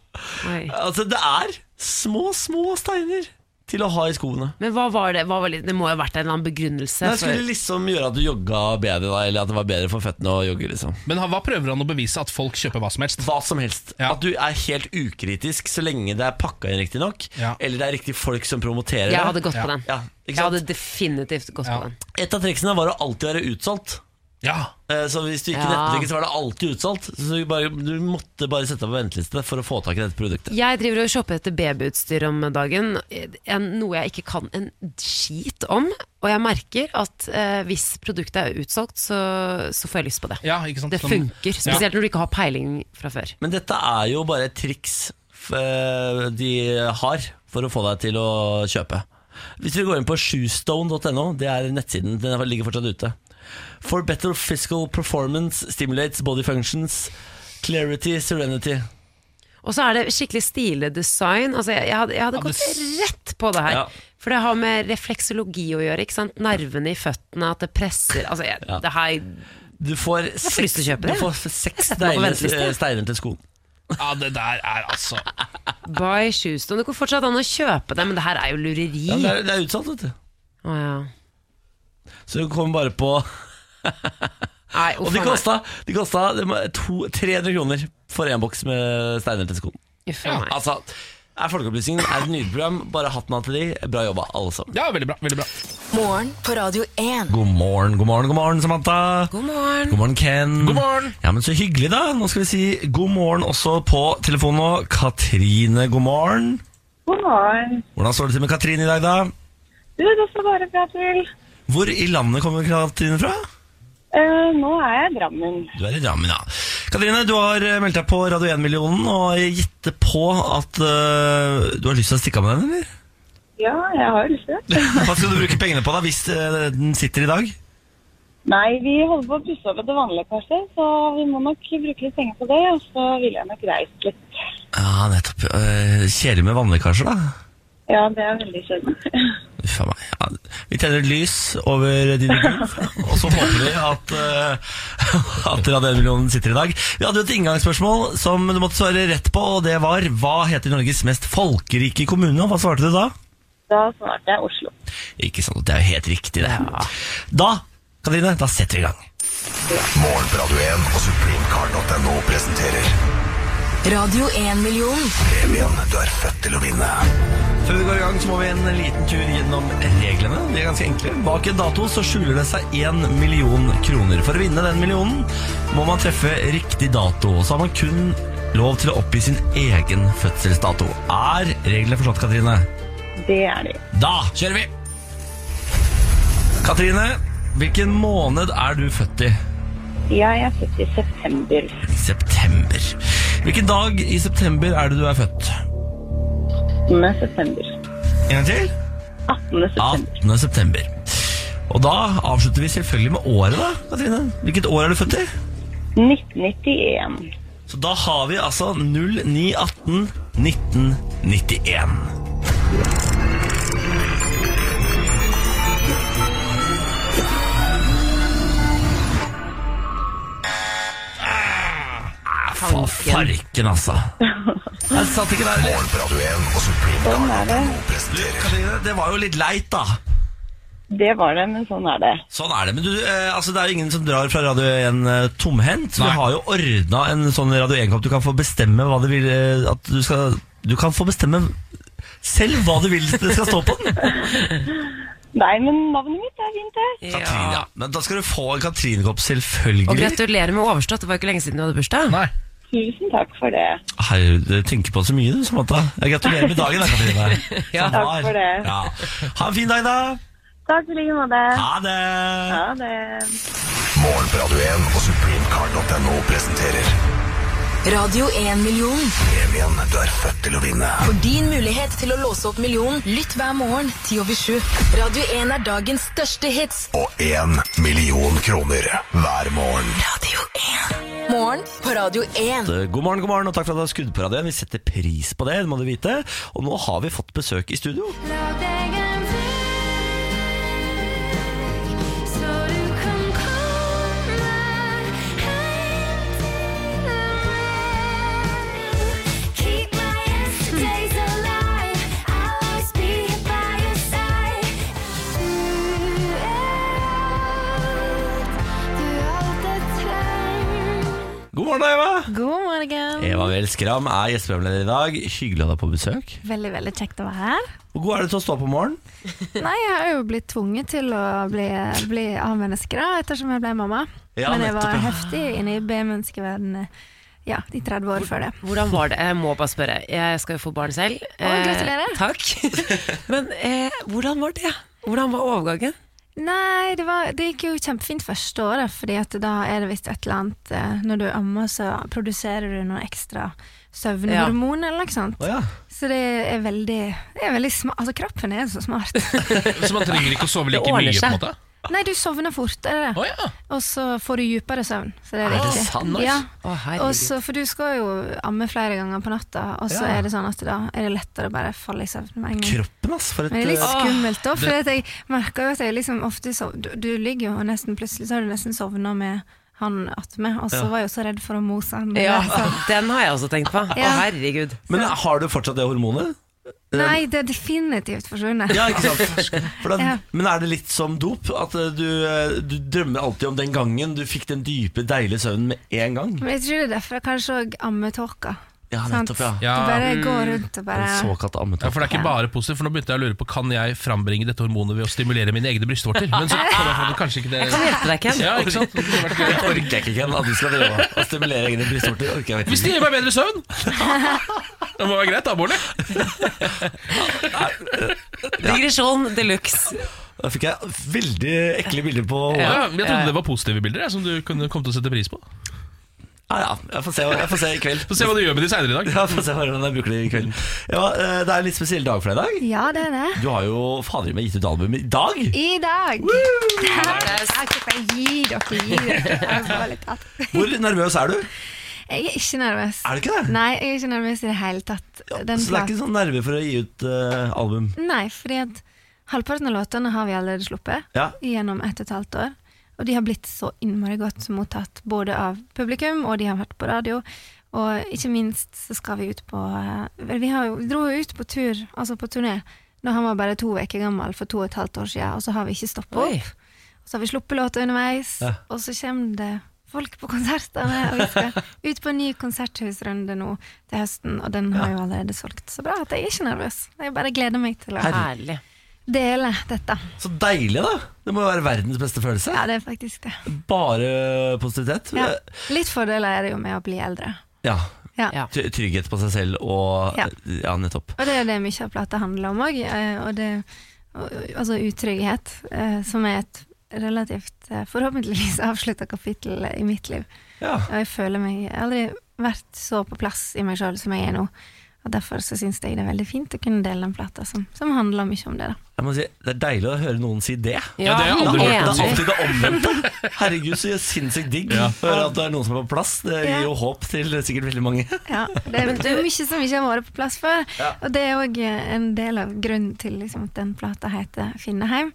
Oi.
Altså, det er små, små steiner til å ha i skoene.
Men hva var det? Hva var det? det må jo ha vært en eller annen begrunnelse.
Det skulle liksom gjøre at du jogga bedre, da, eller at det var bedre for føttene å jogge. liksom
Men han- hva prøver han å bevise? At folk kjøper hva som helst?
Hva som helst.
Ja.
At du er helt ukritisk så lenge det er pakka inn riktig nok,
Ja.
eller det er riktig folk som promoterer
For, jeg
det.
hadde gått
Ja.
på den.
Ja,
Jeg
ikke sant?
hadde definitivt gått
Ja.
på den.
Et av triksene var å alltid være utsolgt.
Ja,
Eh, Så hvis du gikk
Ja.
i nettbutikken, så var det alltid utsolgt. Så du, bare, du måtte bare sette deg på venteliste for å få tak i dette produktet.
Jeg driver og shopper etter babyutstyr om dagen, en, noe jeg ikke kan en skit om. Og jeg merker at eh, hvis produktet er utsolgt, så, så får jeg lyst på det.
ja ikke sant?
Det
Sånn-
funker, spesielt når du ikke har peiling fra før.
Men dette er jo bare et triks f- eh, de har for å få deg til å kjøpe. Hvis vi går inn på shoestone.no, det er nettsiden, den er- ligger fortsatt ute. For better physical performance stimulates body functions, clarity, serenity.
Og så er det skikkelig stilig design. Altså, jeg, jeg hadde, jeg hadde
Ja, det
gått
s-
rett på det her.
Ja.
For det har med refleksologi å gjøre. Ikke sant? Nervene i føttene, at det presser altså, jeg,
Ja.
Det her
Du får
får lyst
seks,
til å kjøpe
du
det.
får seks
setter meg på
deilige
venteliste.
eh, steiner til skoen.
Ja, det der er altså
Buy shoes. Det går fortsatt an å kjøpe det, men det her er jo lureri.
Ja, men det, er, det er utsolgt, vet du.
Å, ja.
Så du kommer bare på
[laughs] Nei,
Og
uff
de
a meg.
kosta, de kosta det må- to, 300 kroner for én boks med steiner til skoen.
Uff a meg.
Altså, er Folkeopplysningen er et nyprogram. Bare hatten av til de. Bra jobba, alle sammen.
Ja, veldig bra. veldig bra
Morgen på Radio 1.
God morgen, god morgen, god morgen, Samantha.
God morgen.
God morgen, Ken.
God morgen.
Ja, men Så hyggelig, da. Nå skal vi si god morgen også på telefonen nå. Katrine, god morgen.
God morgen.
Hvordan står det til med Katrine i dag, da?
Du, det står bare bra til.
Hvor i landet kommer Katrine fra?
Eh, nå er jeg i Drammen.
Du er i Drammen, ja. Katrine, du har eh, meldt deg på Radio 1-millionen og jeg gjetter på at eh, du har lyst til å stikke av med den, [laughs] eller?
Ja, jeg har lyst til det.
Hva skal du bruke pengene på da, hvis eh, den sitter i dag?
Nei, vi holder på å pusse opp etter vannlekkasje, så vi må nok bruke litt penger på det. Og så ville jeg nok reist litt.
Ja, nettopp. Eh, Kjedelig med vannlekkasjer, da.
Ja, det er veldig kjedelig. [laughs]
Uff a meg. Ja, vi tenner et lys over dine gulv, og så håper vi at, uh, [laughs] at Radio 1-millionen sitter i dag. Vi hadde jo et inngangsspørsmål som du måtte svare rett på, og det var hva heter Norges mest folkerike kommune? Og hva svarte du da?
Da svarte jeg Oslo.
Ikke sant, det er jo helt riktig, det. Da, Katrine, da setter vi i gang.
Morgen på Radio 1 og supremecard.no presenterer
Radio 1-million.
premien du er født til å vinne.
Før vi går i gang, så må vi en liten tur gjennom reglene. De er ganske enkle. Bak en dato så skjuler det seg én million kroner. For å vinne den millionen må man treffe riktig dato. og Så har man kun lov til å oppgi sin egen fødselsdato. Er reglene forstått, Katrine?
Det er det.
Da kjører vi! Katrine, hvilken måned er du født i?
Jeg er født i september.
September. Hvilken dag i september er det du er født?
18. september.
En gang til?
18. september.
18. september. Og da avslutter vi selvfølgelig med året, da, Katrine. Hvilket år er du født i?
1991.
Så da har vi altså 0918-1991. Ah, fa- Farken, altså. Jeg satt ikke der heller.
Morgen på Radio 1 og supremecard.no
Du,
presenterer
Katrine, det var jo litt leit, da.
Det var det, men sånn er det.
Sånn er det. Men du, eh, altså, det er jo ingen som drar fra Radio 1 eh, tomhendt. Vi
Nei.
har jo ordna en sånn Radio 1-kamp. Du kan få bestemme hva det vil eh, at du, skal, du kan få bestemme selv hva du vil det skal stå på den.
[laughs] Nei, men navnet mitt er fint, det.
Katrin, ja.
Ja.
Men da skal du få en Katrin-kopp, selvfølgelig.
Og gratulerer med overstått. Det var ikke lenge siden du hadde bursdag.
Nei.
Tusen takk for det.
Herre, du tenker på så mye, du, Samantha. Jeg gratulerer med dagen, da,
[laughs]
Katrine.
Ja,
Som var.
takk for det.
Ja. Ha en fin dag, da.
Takk i like måte.
Ha det.
Ha det.
Morgen på Radio 1 og supremecard.no presenterer
Radio 1-millionen.
premien du er født til å vinne.
For din mulighet til å låse opp millionen, lytt hver morgen 10 over 7. Radio 1 er dagens største hits.
Og én million kroner hver morgen.
Radio 1. Morgen på Radio 1.
God morgen, god morgen, og takk for at du har skudd på radioen. Vi setter pris på det, det må du vite. Og nå har vi fått besøk i studio. God morgen, da, Eva.
God morgen.
Eva Vel Skram er gjesteprogramleder i dag. Hyggelig å ha deg på besøk.
Veldig veldig kjekt å være her.
Hvor god er du til å stå opp om morgenen?
Nei, Jeg har jo blitt tvunget til å bli, bli A-menneske da, ettersom jeg ble mamma.
Ja,
Men jeg var
nettopp, ja.
heftig inne i B-menneskeverdenen ja, i 30 år før det.
Hvordan var det? Jeg må bare spørre. Jeg skal jo få barn selv. Eh,
gratulerer.
takk. [laughs] Men eh, hvordan var det? Hvordan var overgangen?
Nei, det, var, det gikk jo kjempefint første året, fordi at da er det visst et eller annet eh, Når du ammer, så produserer du noe ekstra søvnhormon eller noe sånt.
Å ja.
Så det er veldig, det er veldig smart. Altså, kroppen er så smart.
Så man trenger ikke å sove like
Det ordner
mye, på en
seg.
måte?
Nei, du sovner fort, er det det?
Å ja.
Og så får du djupere søvn. Så det er,
Er det
viktig.
sant? Nice.
Ja.
Å, herregud.
Og så- for du skal jo amme flere ganger på natta, og så
Ja.
er det sånn at da er det lettere å bare falle i søvn med en gang.
Kroppen, ass. For et
Men det er litt
eh,
skummelt da, for at jeg merker jo at jeg liksom ofte sov, du, du ligger jo og nesten plutselig så har du nesten sovna med han attmed, og så var jeg jo så redd for å mose han.
Ja,
der, [laughs]
[laughs]
så-
den har jeg også tenkt på. Å,
Ja.
herregud.
Men har du fortsatt det hormonet?
Nei, det er definitivt forsvunnet.
[laughs] Ja, ikke sant? For da,
Ja.
Men er det litt som dop? At eh, du, eh, du drømmer alltid om den gangen du fikk den dype, deilige søvnen med en gang?
[laughs] Men jeg tror det er derfor jeg kanskje òg ammetåka.
Ja,
sant?
nettopp, ja.
Ja.
Du bare går rundt og bare
Den såkalte
Ja,
ammetåpen.
for det er ikke bare positivt, for nå begynte jeg å lure på Kan jeg frambringe dette hormonet ved å stimulere mine egne brystvorter. Men så kom jeg på at kanskje ikke det
Kan hjelpe deg, Ken.
Ja, ikke sant? Det kunne vært gøy.
[laughs] Det orker jeg ikke, Ken, at du skal drive og stimulere egne brystvorter. orker jeg
Hvis
ikke.
det gir meg bedre søvn!
[laughs]
Det må være greit, da, Bårdli.
Digresjon de luxe.
Da fikk jeg veldig ekle bilder på håret.
Ja, jeg trodde det var positive bilder jeg, som du kunne komme til å sette pris på.
Ja, ja. Jeg får se, jeg får se i kveld.
Så se hva du gjør med de seinere i dag.
[laughs] Ja, får se hvordan jeg bruker det i kveld. Ja, eh, det er en litt spesiell dag for deg i dag.
Ja, det er det.
Du har jo fader meg gitt ut album i dag!
I dag! Jeg kan gi dere, gi dere. Jeg får litt tatt.
Hvor nervøs er
[laughs]
du?
Jeg
[laughs]
er ikke nervøs.
Er du ikke det?
Nei, jeg er ikke nervøs i det hele tatt.
Ja,
Den
så det er ikke sånn nerve for å gi ut eh, album?
plat- Nei, fordi at halvparten av låtene har vi allerede sluppet
Ja.
gjennom ett og et halvt år. Og de har blitt så innmari godt mottatt både av publikum, og de har vært på radio. Og ikke minst så skal vi ut på eh, vel, Vi har, jo- vi dro jo ut på tur, altså på turné, da han var bare to uker gammel for to og et halvt år siden, og så har vi ikke stoppet
Oi.
opp. Og så har vi sluppet låter underveis,
Ja.
og så kommer det folk på konsertene. Og vi
[laughs]
skal ut på en ny konserthusrunde nå til høsten, og den har jo allerede solgt så bra at jeg er ikke nervøs. Jeg bare gleder meg til å
Herlig.
dele dette.
Så deilig, da! Det må jo være verdens beste følelse.
Ja, det er faktisk det.
Bare positivitet.
Ja. Litt fordeler er det jo med å bli eldre.
Ja.
Ja.
Ja.
Try- Trygghet på seg selv og
Ja.
Ja, nettopp.
Og det er jo det mye av plata handler om òg, og det og- Altså utrygghet, eh, som er et relativt eh, forhåpentligvis [laughs] avslutta kapittel i mitt liv.
Ja.
Og jeg føler meg Jeg har aldri vært så på plass i meg sjøl som jeg er nå. Og Derfor så syns jeg det er veldig fint å kunne dele den plata som, som handler mye om det. da
Jeg må si, det er deilig å høre noen si det.
Ja, det har jeg
Det
aldri
er
hørt noen si.
alltid det omvendte. Herregud, så sinnssykt digg å
Ja.
høre at det er noen som er på plass. Det
Ja.
gir jo håp til sikkert veldig mange.
ja, Det er, det er mye som ikke har vært på plass før. Og det er òg en del av grunnen til liksom, at den plata heter 'Finneheim'.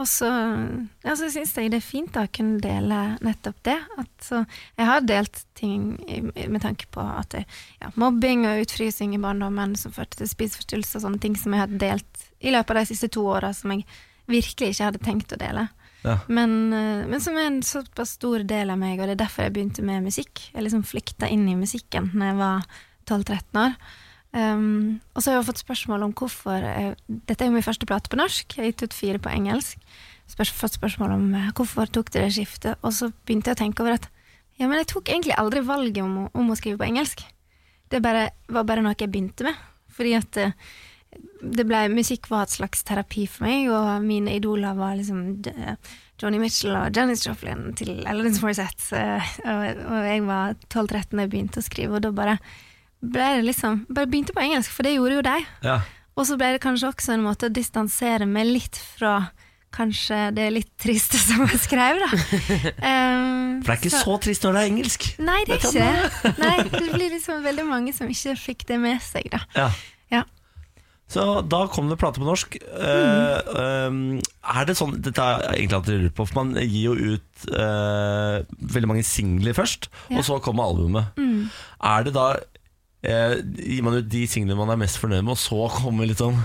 Og så, ja, så syns jeg det er fint da, å kunne dele nettopp det. At, så, jeg har delt ting i, med tanke på at jeg, ja, mobbing og utfrysing i barndommen som førte til spiseforstyrrelser og sånne ting som jeg har delt i løpet av de siste to åra, som jeg virkelig ikke hadde tenkt å dele.
Ja.
Men, eh, men som er en såpass stor del av meg, og det er derfor jeg begynte med musikk. Jeg liksom flykta inn i musikken da jeg var 12-13 år. Um, og så har jeg jo fått spørsmål om hvorfor jeg, Dette er jo min første plate på norsk. Jeg har gitt ut fire på engelsk. Spørs, fått spørsmål om eh, hvorfor tok du det skiftet. Og så begynte jeg å tenke over at ja, men jeg tok egentlig aldri valget om, å- om å skrive på engelsk. Det bare, var bare noe jeg begynte med. Fordi at eh, det ble, musikk var et slags terapi for meg, og mine idoler var liksom eh, Johnny Mitchell og Janis Joplin til Alanis Morissette. eh, Og, og jeg var 12-13 da jeg begynte å skrive, og da bare ble det liksom Bare begynte på engelsk, for det gjorde jo de.
Ja.
Og så ble det kanskje også en måte å distansere meg litt fra kanskje det litt triste [laughs] som jeg skrev,
[laughs]
da. Um,
For det er ikke så trist når det er engelsk.
Nei, det er ikke det. Nei, det blir liksom veldig mange som ikke fikk det med seg,
[laughs]
da.
Ja.
Ja.
Så da kom det plate på norsk. Eh, eh, er det sånn Dette er egentlig alt jeg lurer på. For man gir jo ut eh, veldig mange singler først,
Ja. Mm.
og så kommer albumet. Er det da eh, Gir man ut de singlene man er mest fornøyd med, og så kommer liksom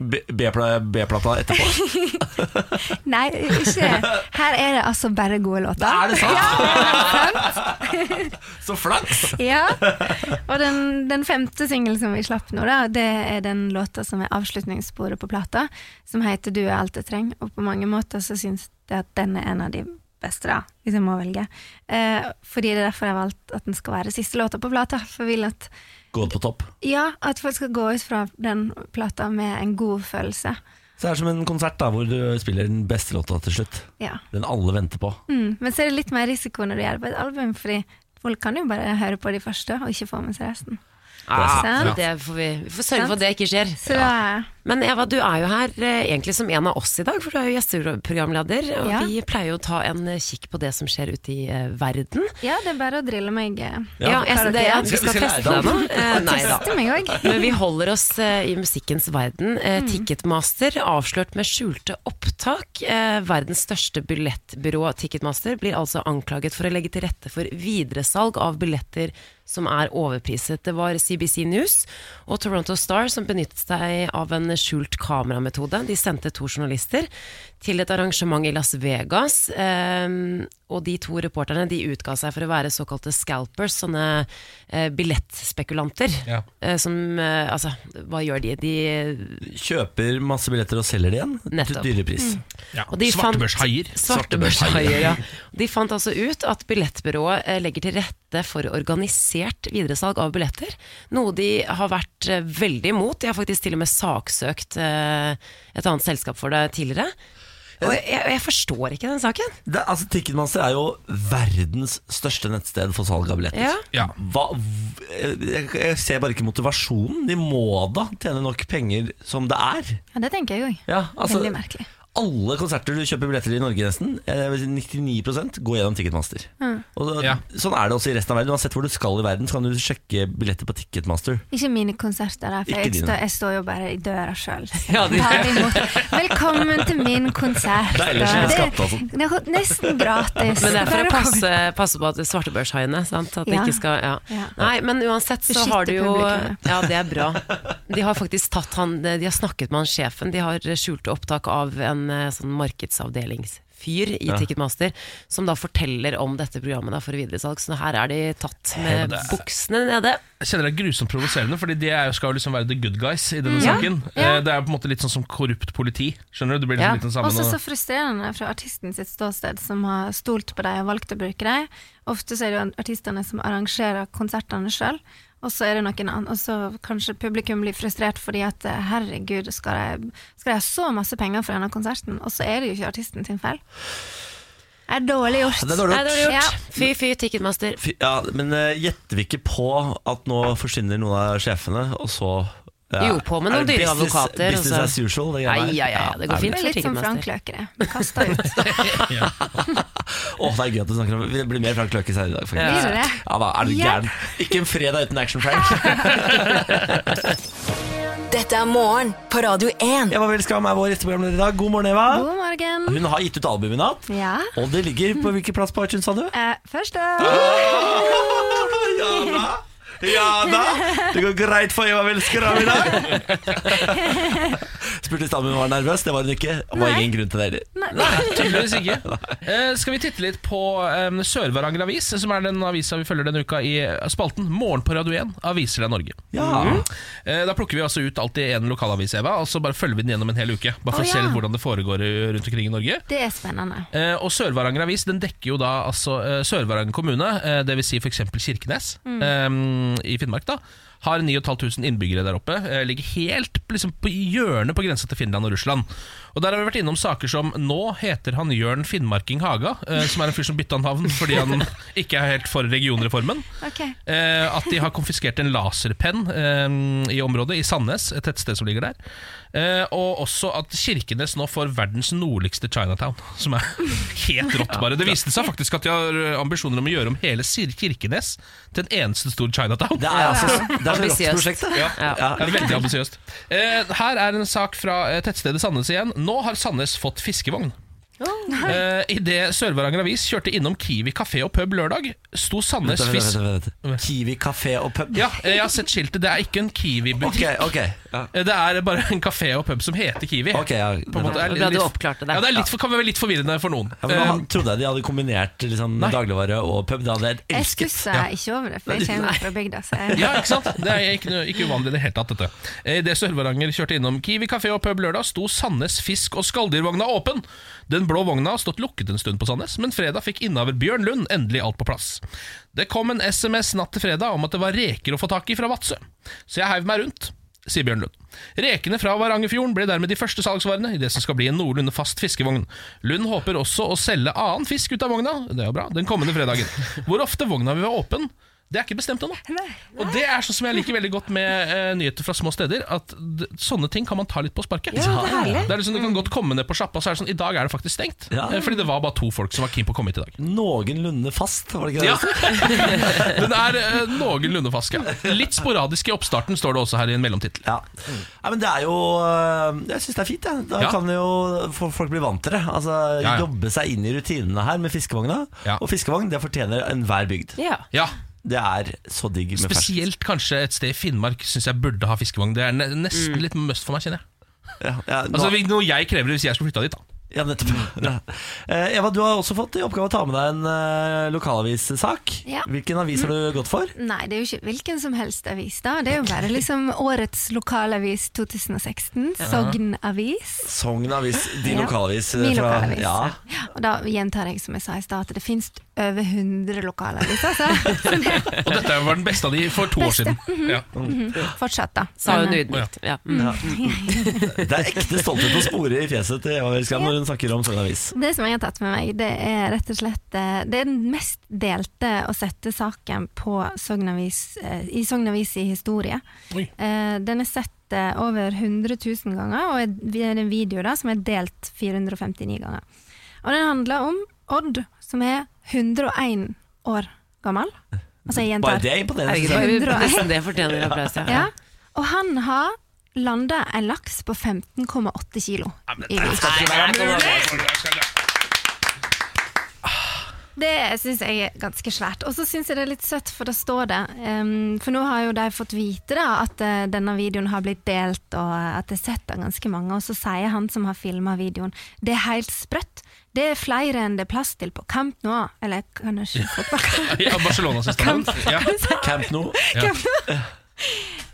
B- B-pla- B-plata etterpå?
[laughs] Nei, ikke Her er det altså bare gode låter.
er det sant?
sant?
[laughs] Så flaks!
[laughs] Ja. Og den, den femte singelen som vi slapp nå, da, det er den låta som er avslutningssporet på plata, som heter 'Du er alt jeg trenger'. Og på mange måter så syns jeg at den er en av de beste, da, hvis jeg må velge. Eh, fordi det er derfor jeg har valgt at den skal være siste låta på plata. For jeg vil at
Gå på topp.
ja, at folk skal gå ut fra den plata med en god følelse.
Så det er som en konsert da hvor du spiller den beste låta til slutt.
Ja.
Den alle venter på.
Mm. Men så er det litt mer risiko når du gjør det på et album, fordi folk kan jo bare høre på de første og ikke få med seg resten.
Ah,
Sant?
Det får vi, vi får sørge for at det ikke skjer.
Så eh, da,
Men Eva, du er jo her eh, egentlig som en av oss i dag, for du er jo gjesteprogramleder. Og
Ja.
vi pleier jo å ta en eh, kikk på det som skjer ute i eh, verden.
ja, det er bare å drille meg. eh,
Ja, jeg,
Klarer
det,
dere
jeg,
det?
vi skal
Skal vi lære
teste deg nå. Eh, Nei da.
Teste meg Mm. òg.
Men vi holder oss eh, i musikkens verden. Eh, Ticketmaster avslørt med skjulte opptak. Eh, verdens største billettbyrå Ticketmaster blir altså anklaget for å legge til rette for videresalg av billetter som er overpriset. Det var CBC News og Toronto Star som benyttet seg av en skjult kamerametode. De sendte to journalister til et arrangement i Las Vegas. Eh, og de to reporterne de utga seg for å være såkalte scalpers, sånne eh, billettspekulanter.
Ja.
Eh, Som, eh, altså, hva gjør de? de
Kjøper masse billetter og selger det igjen
Nettopp. Mm.
til dyre pris.
Mm.
Ja.
Og de fant-
Svartebørshaier.
Svartebørshaier, ja. De fant altså ut at billettbyrået eh, legger til rette for organisert videresalg av billetter. Noe de har vært eh, veldig imot. De har faktisk til og med saksøkt eh, et annet selskap for det tidligere. Og jeg, jeg- jeg forstår ikke den saken.
Det, altså, Ticketmaster er jo verdens største nettsted for salg av billetter.
Ja.
Ja.
Hva, jeg, jeg ser bare ikke motivasjonen. De må da tjene nok penger som det er.
Ja, det tenker jeg òg.
Ja, altså,
Veldig merkelig.
alle konserter du kjøper billetter til i Norge, nesten, eh, 99 går gjennom Ticketmaster. Og så,
Ja.
Sånn er det også i resten av verden. Uansett hvor du skal i verden, så kan du sjekke billetter på Ticketmaster.
Ikke mine konserter, da, for
Ikke
jeg
dine.
står, jeg står jo bare i døra sjøl.
Ja, de-
Velkommen til min konsert.
Det er ellers
da.
ikke
Det-
skatt, altså.
det er nesten gratis.
Men det er for
Bare
å
kom.
passe, passe på at det er svartebørshaiene sant? At det
Ja.
ikke skal, ja.
Ja.
Nei, men uansett så
Beskytte
har du jo
publikummet.
Ja, det er bra. De har faktisk tatt han De har snakket med han sjefen. De har skjulte opptak av en eh, sånn markedsavdelingsfyr i Ticketmaster som da forteller om dette programmet da, for videresalg. Så her er de tatt med buksene nede.
Jeg kjenner det er grusomt provoserende, Fordi de er jo, skal jo liksom være the good guys i denne
Ja,
saken.
ja.
Eh, Det er på en måte litt sånn som korrupt politi. Skjønner du? Det blir liksom
Ja,
litt den samme
Også så frustrerende fra artisten sitt ståsted, som har stolt på deg og valgt å bruke deg. Ofte så er det jo artistene som arrangerer konsertene sjøl, og så er det noen annen, og så kanskje publikum blir frustrert fordi at eh, herregud, skal jeg, skal jeg ha så masse penger for denne konserten, og så er det jo ikke artisten sin feil. Det er dårlig gjort.
Det er dårlig
Nei, det har de
Ja.
gjort. Fy, fy, Ticketmaster.
Fy- Ja, men eh, gjetter vi ikke på at nå forsvinner noen av sjefene, og så ja,
Jo, på med noen
er det
dyre
business-
advokater, og
Business
så-
as usual. Det
Ai, ai, ai, det går fint.
Det er litt som Frank Løke, det. Kasta ut.
[laughs] Å, det er gøy at du snakker om det. blir mer Frank Løke senere i dag,
Blir
faktisk.
det det?
Ja, da er du
Ja.
gæren. Ikke en fredag uten Action
[laughs]
Frank.
Dette er morgen på Radio 1.
Eva Welskam er vår gjesteprogramleder i dag. God morgen, Eva.
God morgen.
Hun har gitt ut album i natt,
Ja.
og det ligger på hvilken plass på iTunes, sa du?
Eh, først da
Ja da.
[laughs]
Ja da. Det går greit for Eva Welskram i dag. spurte i stad om hun var nervøs. Det var hun ikke. Det var
Nei.
ingen grunn til det heller.
Nei.
Nei, tydeligvis ikke. Eh, skal vi titte litt på eh, Sør-Varanger Avis, som er den avisa vi følger denne uka i eh, spalten Morgen på Radio 1, aviser av Norge.
Ja.
Eh, da plukker vi altså ut alltid en lokalavis, Eva, og så bare følger vi den gjennom en hel uke. Bare for å
Å, ja.
se litt hvordan det foregår eh, rundt omkring i Norge.
[laughs] Det er spennende.
Eh, og Sør-Varanger Avis den dekker jo da altså eh, Sør-Varanger kommune, eh, dvs. Si f.eks. Kirkenes eh, i Finnmark. da Har 9500 innbyggere der oppe. Eh, ligger helt liksom, på hjørnet på grensa til Finland og Russland. Og Der har vi vært innom saker som Nå heter han Jørn Finnmarking Haga, eh, som er en fyr som bytta navn fordi han ikke er helt for regionreformen.
Ok.
Eh, at de har konfiskert en laserpenn eh, i området, i Sandnes, et tettsted som ligger der. Eh, og også at Kirkenes nå får verdens nordligste Chinatown, som er [laughs] helt rått, bare. Det viste seg faktisk at de har eh, ambisjoner om å gjøre om hele Sir- Kirkenes til en eneste stor Chinatown.
Det er altså det er så rått
Ambisiøst.
prosjekt, det.
Ja.
Det er veldig ambisiøst. Eh, her er en sak fra eh, tettstedet Sandnes igjen. Nå har Sandnes fått fiskevogn. Eh, Idet Sør-Varanger Avis kjørte innom Kiwi kafé og pub lørdag, sto Sandnes
Vent, vent,
Fisk
vent, vent, vent. Kiwi kafé og pub.
[laughs] Ja, eh, jeg har sett skiltet. Det er ikke en Kiwi-butikk.
Ok, ok. Ja.
Eh, Det er bare en kafé og pub som heter Kiwi.
Ok, ja.
På en måte,
Ja,
er
bra
litt-
du oppklarte det.
Ja, det er litt, for- kan være litt forvirrende for noen. Eh,
Ja, men da trodde jeg de hadde kombinert liksom,
Nei.
dagligvare og pub. Det hadde jeg
Jeg
elsket.
stusser ikke over det, for jeg kommer fra bygda. Så
Eh,
jeg,
ja, ikke sant? Det er ikke, noe- ikke uvanlig i det hele tatt, dette. Eh, Idet Sør-Varanger kjørte innom Kiwi kafé og pub lørdag, sto Sandnes fisk- og skalldyrvogna åpen. Den blå vogna har stått lukket en stund på Sandnes, men fredag fikk innehaver Bjørn Lund endelig alt på plass. Det kom en SMS natt til fredag om at det var reker å få tak i fra Vadsø, så jeg heiv meg rundt. sier Bjørn Lund. Rekene fra Varangerfjorden ble dermed de første salgsvarene i det som skal bli en noenlunde fast fiskevogn. Lund håper også å selge annen fisk ut av vogna det er jo bra, den kommende fredagen. Hvor ofte vogna vil være åpen, det er ikke bestemt ennå. Og det er sånn som jeg liker veldig godt med eh, nyheter fra små steder, at d sånne ting kan man ta litt på sparket. det er liksom, Du kan godt komme ned på sjappa, så er det sånn I dag er det faktisk stengt.
Ja.
Eh, Fordi det var bare to folk som var keen på å komme hit i dag.
Noenlunde fast, var det ikke det?
[laughs] Den er eh, noenlunde fast, ja. Litt sporadisk i oppstarten, står det også her i en mellomtittel.
Ja. Nei, men det er jo øh, Jeg syns det er fint, jeg. Da
Ja.
kan jo fo- folk bli vant til det. Altså,
ja.
Jobbe seg inn i rutinene her med fiskevogna.
Ja.
Og fiskevogn det fortjener enhver bygd.
Ja.
Ja,
Det er så digg med fersk.
Spesielt kanskje et sted i Finnmark syns jeg burde ha fiskevogn. Det er ne nesten litt must for meg, kjenner jeg.
Ja, Mm. ja, nå-
Altså Noe jeg krever hvis jeg skulle flytta dit. da
ja, nettopp. Ja. Eh, Eva, du har også fått i oppgave å ta med deg en eh, lokalavissak.
Ja.
Hvilken avis har du gått for?
nei, det er jo ikke hvilken som helst avis, da. Det er jo bare liksom årets lokalavis 2016, Sogn Avis.
Sogn avis. Din
Ja,
lokalavis. eh,
Min
fra-
lokalavis.
Ja.
ja. Og da gjentar jeg som jeg sa i stad, at det finnes over 100 lokalaviser, altså. Som det er
Og dette var den beste av de for to år
Beste.
siden.
Mhm.
Ja.
Mm.
fortsatt, da.
Sa hun
Men, eh,
ydmykt. Ja. Mm.
Det er ekte stolthet å spore i fjeset til Eva Welskram når hun snakker om Sogn avis.
Det som jeg har tatt med meg, det er rett og slett eh, Det er den mest delte og sette saken på Sogn Avis, eh, i Sogn Avis i historie.
Oi.
Eh, Den er sett eh, over 100 000 ganger, og er- det er en video da, som er delt 459 ganger. Og den handler om Odd, som er 101 år gammel. Altså, jeg gjentar.
Bare det er imponerende.
Herregud,
synes
bare-
jeg.
Hundre og-
nesten det fortjener applaus. Ja.
Ja. Og han har landa en laks på 15,8 kilo. i vekt. Det syns jeg er ganske svært. Og så syns jeg det er litt søtt, for det står det. ehm, for nå har jo de fått vite da, at eh, denne videoen har blitt delt, og eh, at det er sett av ganske mange. Og så sier han som har filma videoen, det er helt sprøtt. Det er flere enn det er plass til på kamp nå. Eller kan jeg ikke fotballkamp?
Ja, Barcelona siste gang. Ja.
Camp Nou.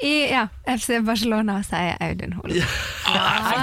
I, ja, FC Barcelona, sier Audun Holen.
Ja,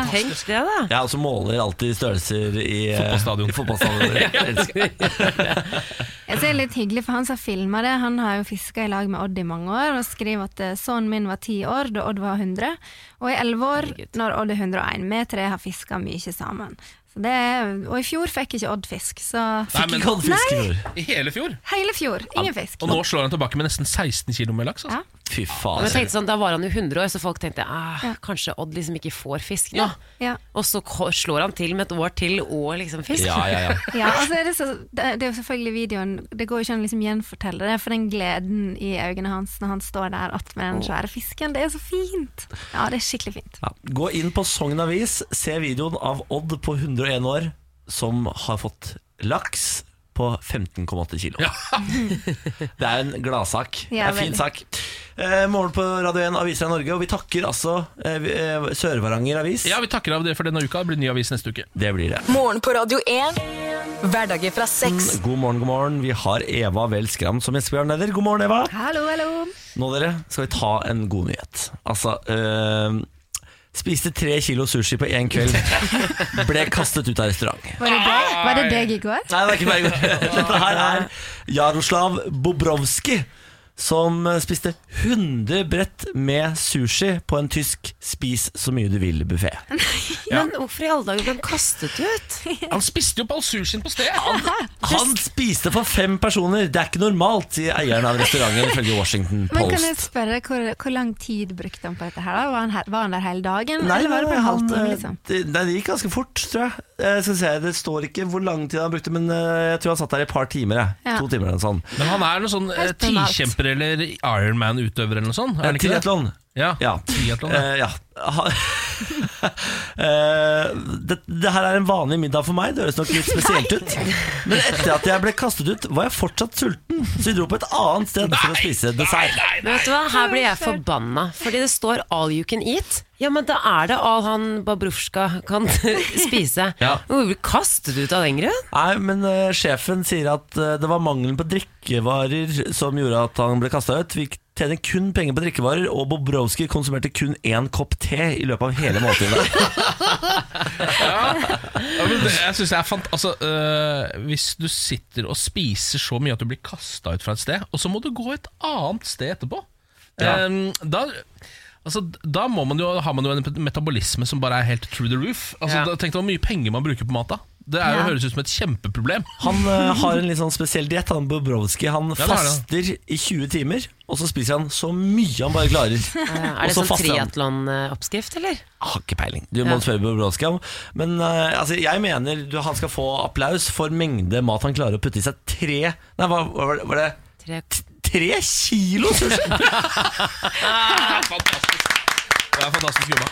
Tenk det, da.
Ja, og så måler alltid størrelser i eh,
Fotballstadion.
i
[laughs]
fotballstadion. Jeg elsker det.
Jeg ser litt hyggelig, for han som filma det, han har jo fiska i lag med Odd i mange år, og skriver at eh, sønnen min var ti år da Odd var 100, og i elleve år når Odd er 101. Vi tre har fiska mye sammen. Så det, er- og i fjor fikk ikke Odd fisk, så
Nei, men
Ikke kall det fisk i fjor.
I hele fjor.
hele fjor ingen fisk.
Og nå slår han tilbake med nesten 16 kg med laks. Altså.
Ja.
Fy
Men
faen.
jeg tenkte sånn, Da var han jo 100 år, så folk tenkte ah, kanskje Odd liksom ikke får fisk nå.
Ja.
Og så ko- slår han til med et år til og liksom fisk.
Ja, ja, ja.
Ja, og så er det, så, det det er jo selvfølgelig videoen Det går jo ikke an å liksom gjenfortelle det, for den gleden i øynene hans når han står der attmed den svære fisken, det er så fint! Ja, det er skikkelig fint.
ja. Gå inn på Sogn Avis, se videoen av Odd på 101 år som har fått laks på 15,8 kilo.
Ja.
[laughs] Det er en gladsak. Det
Ja,
er en fin
veldig.
sak. Eh, morgen på Radio 1 Aviser av Norge, og vi takker altså eh, vi- eh, Sør-Varanger
sånn-
Avis.
Ja, vi takker av det for denne uka. Det blir ny avis neste uke.
Det blir det.
Morgen på Radio 1. Hverdager fra seks.
God morgen, god morgen. Vi har Eva Vel Skram som gjesteprogramleder. God morgen, Eva.
Hallo, hallo.
Nå dere skal vi ta en god nyhet. Altså øh, Spiste tre kilo sushi på én kveld. Ble kastet ut av restaurant.
Var det deg, var det deg i går?
Nei, det er ikke meg. [laughs] Dette her er Jaroslav Bobrovski. Som spiste 100 brett med sushi på en tysk 'spis så mye du vil'-buffé.
Men hvorfor i alle dager ble han kastet ut?
[laughs] Han spiste jo opp all sushien på [laughs] stedet!
Han spiste for fem personer! Det er ikke normalt, sier eieren av restauranten ifølge Washington
Men kan jeg
Post.
spørre, hvor, hvor lang tid brukte han på dette her? da? Var han, her, var han der hele dagen,
Nei,
eller var det bare en
han,
halvtime?
eh,
liksom?
det, nei, det gikk ganske fort, tror jeg. Eh, skal vi se, Det står ikke hvor lang tid han brukte, men eh, jeg tror han satt der i et par timer. Jeg.
Ja.
To timer eller noe sånt.
Men han er noen sånn eh,
Helt normalt.
tikjemper eller Ironman-utøver eller noe sånt? Er han ikke det?
Triatlon.
Ja,
Ja.
triatlon, ja.
Eh, ja. Ha- [laughs] Eh, det, det her er en vanlig middag for meg, det høres nok
[laughs]
litt spesielt ut. Men etter at jeg ble kastet ut, var jeg fortsatt sulten, så vi dro på et annet sted for å spise dessert.
Men vet du hva, her blir jeg forbanna, fordi det står 'all you can eat'. Ja, men da er det all han Babrusjka kan [laughs] spise.
Ja.
Hun blir kastet ut av den grunn.
Nei, men eh, sjefen sier at eh, det var mangelen på drikkevarer som gjorde at han ble kasta ut. Vi tjener kun penger på drikkevarer, og Bobrowski konsumerte kun én kopp te i løpet av hele
[laughs]
måltidet.
Ja, men det, jeg synes det er fant altså, øh, Hvis du sitter og spiser så mye at du blir kasta ut fra et sted, og så må du gå et annet sted etterpå
Ja.
Ehm, Da, altså, da må man jo, har man jo en metabolisme som bare er helt through the roof. Altså,
Ja.
da, tenk deg hvor mye penger man bruker på mat da. Det er jo,
Ja.
høres ut som et kjempeproblem.
Han
[laughs]
eh, har en litt sånn spesiell diett, han Bobrowski. Han
det har han.
faster i 20 timer, og så spiser han så mye han bare klarer.
Er
Og
det
så
sånn
faster han.
triatlonoppskrift, eller?
Jeg har ikke peiling. Du må
Ja.
spørre Bobrowski om. Men eh, altså, jeg mener du, han skal få applaus for mengde mat han klarer å putte i seg. Tre Nei, hva hva var det? Var det
Tre
tre kilo sushi!
[laughs]
Ah, Fantastisk. Det er fantastisk jobba.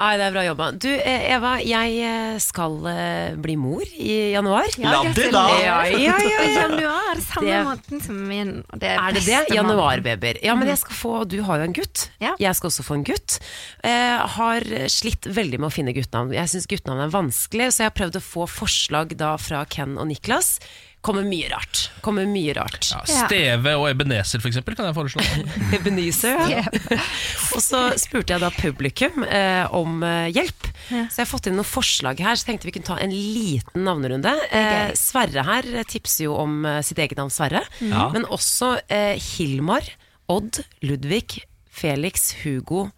Nei, det er bra jobba. Du, eh, Eva, jeg eh, skal eh, bli mor i januar.
La det da!
Ja, ja,
[laughs]
ja,
I
ja.
januar, samme
Det-
måneden som min. og det
Er det
beste
det?
måneden.
Januarbabyer. Ja, men jeg skal få, du har jo en gutt.
Ja.
Jeg skal også få en gutt. Eh, har slitt veldig med å finne guttenavn. Jeg syns guttenavn er vanskelig, så jeg har prøvd å få forslag da fra Ken og Niklas. Kommer mye rart. Kommer mye rart.
Ja, Steve og Ebenezer, for eksempel, kan jeg foreslå.
[laughs] Ebenezer. Ja. [laughs] og så spurte jeg da publikum eh, om eh, hjelp. Så jeg har fått inn noen forslag her, så tenkte vi kunne ta en liten navnerunde. Eh, Sverre her eh, tipser jo om eh, sitt eget navn Sverre,
Ja.
men også eh, Hilmar, Odd, Ludvig, Felix, Hugo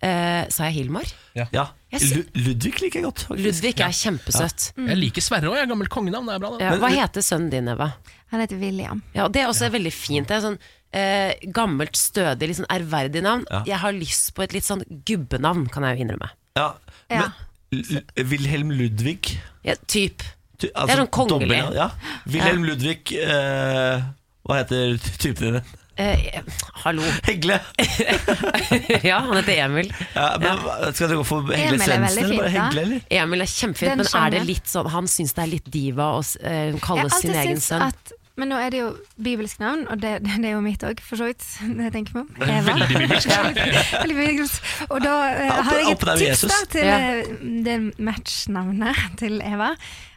eh, Sa jeg Hilmar?
Ja,
Jeg sy-
Lu- Ludvig liker jeg godt. faktisk.
Ludvig er kjempesøtt.
Jeg liker Sverre òg, gammelt kongenavn. Det er bra, det.
Ja, hva heter sønnen din, Eva?
Han heter William.
Ja, og Det er også veldig fint. Det er sånn eh, Gammelt, stødig, litt sånn ærverdig navn.
Ja.
Jeg har lyst på et litt sånn gubbenavn, kan jeg jo innrømme.
Ja.
Ja.
Men L- L- Wilhelm Ludvig
Ja, typ.
ty-
Det er sånn kongelig.
dobbeltnavn, Ja. Wilhelm Ludvig eh, Hva heter typen din?
Eh,
[laughs]
hallo.
Hegle!
[laughs] ja, han heter Emil.
Ja, men, hva- Skal dere gå for Hegle
Emil er veldig
Svendsen eller bare
fint, da.
Hegle, eller?
Emil er kjempefint,
Den
men er det
skjønner jeg.
litt sånn han syns det er litt diva å uh, kalle
Jeg har
sin
alltid
egen
syntes
sønn?
At, men nå er det jo bibelsk navn, og det, det er jo mitt òg, for så vidt. [laughs] Når jeg tenker meg om. [laughs]
Veldig bibelsk.
Ja, veldig bibelsk. Og da eh,
Ja,
har jeg
opp
et
der med
tips
Jesus.
da, til
Ja.
eh, det matchnavnet [laughs] til Eva,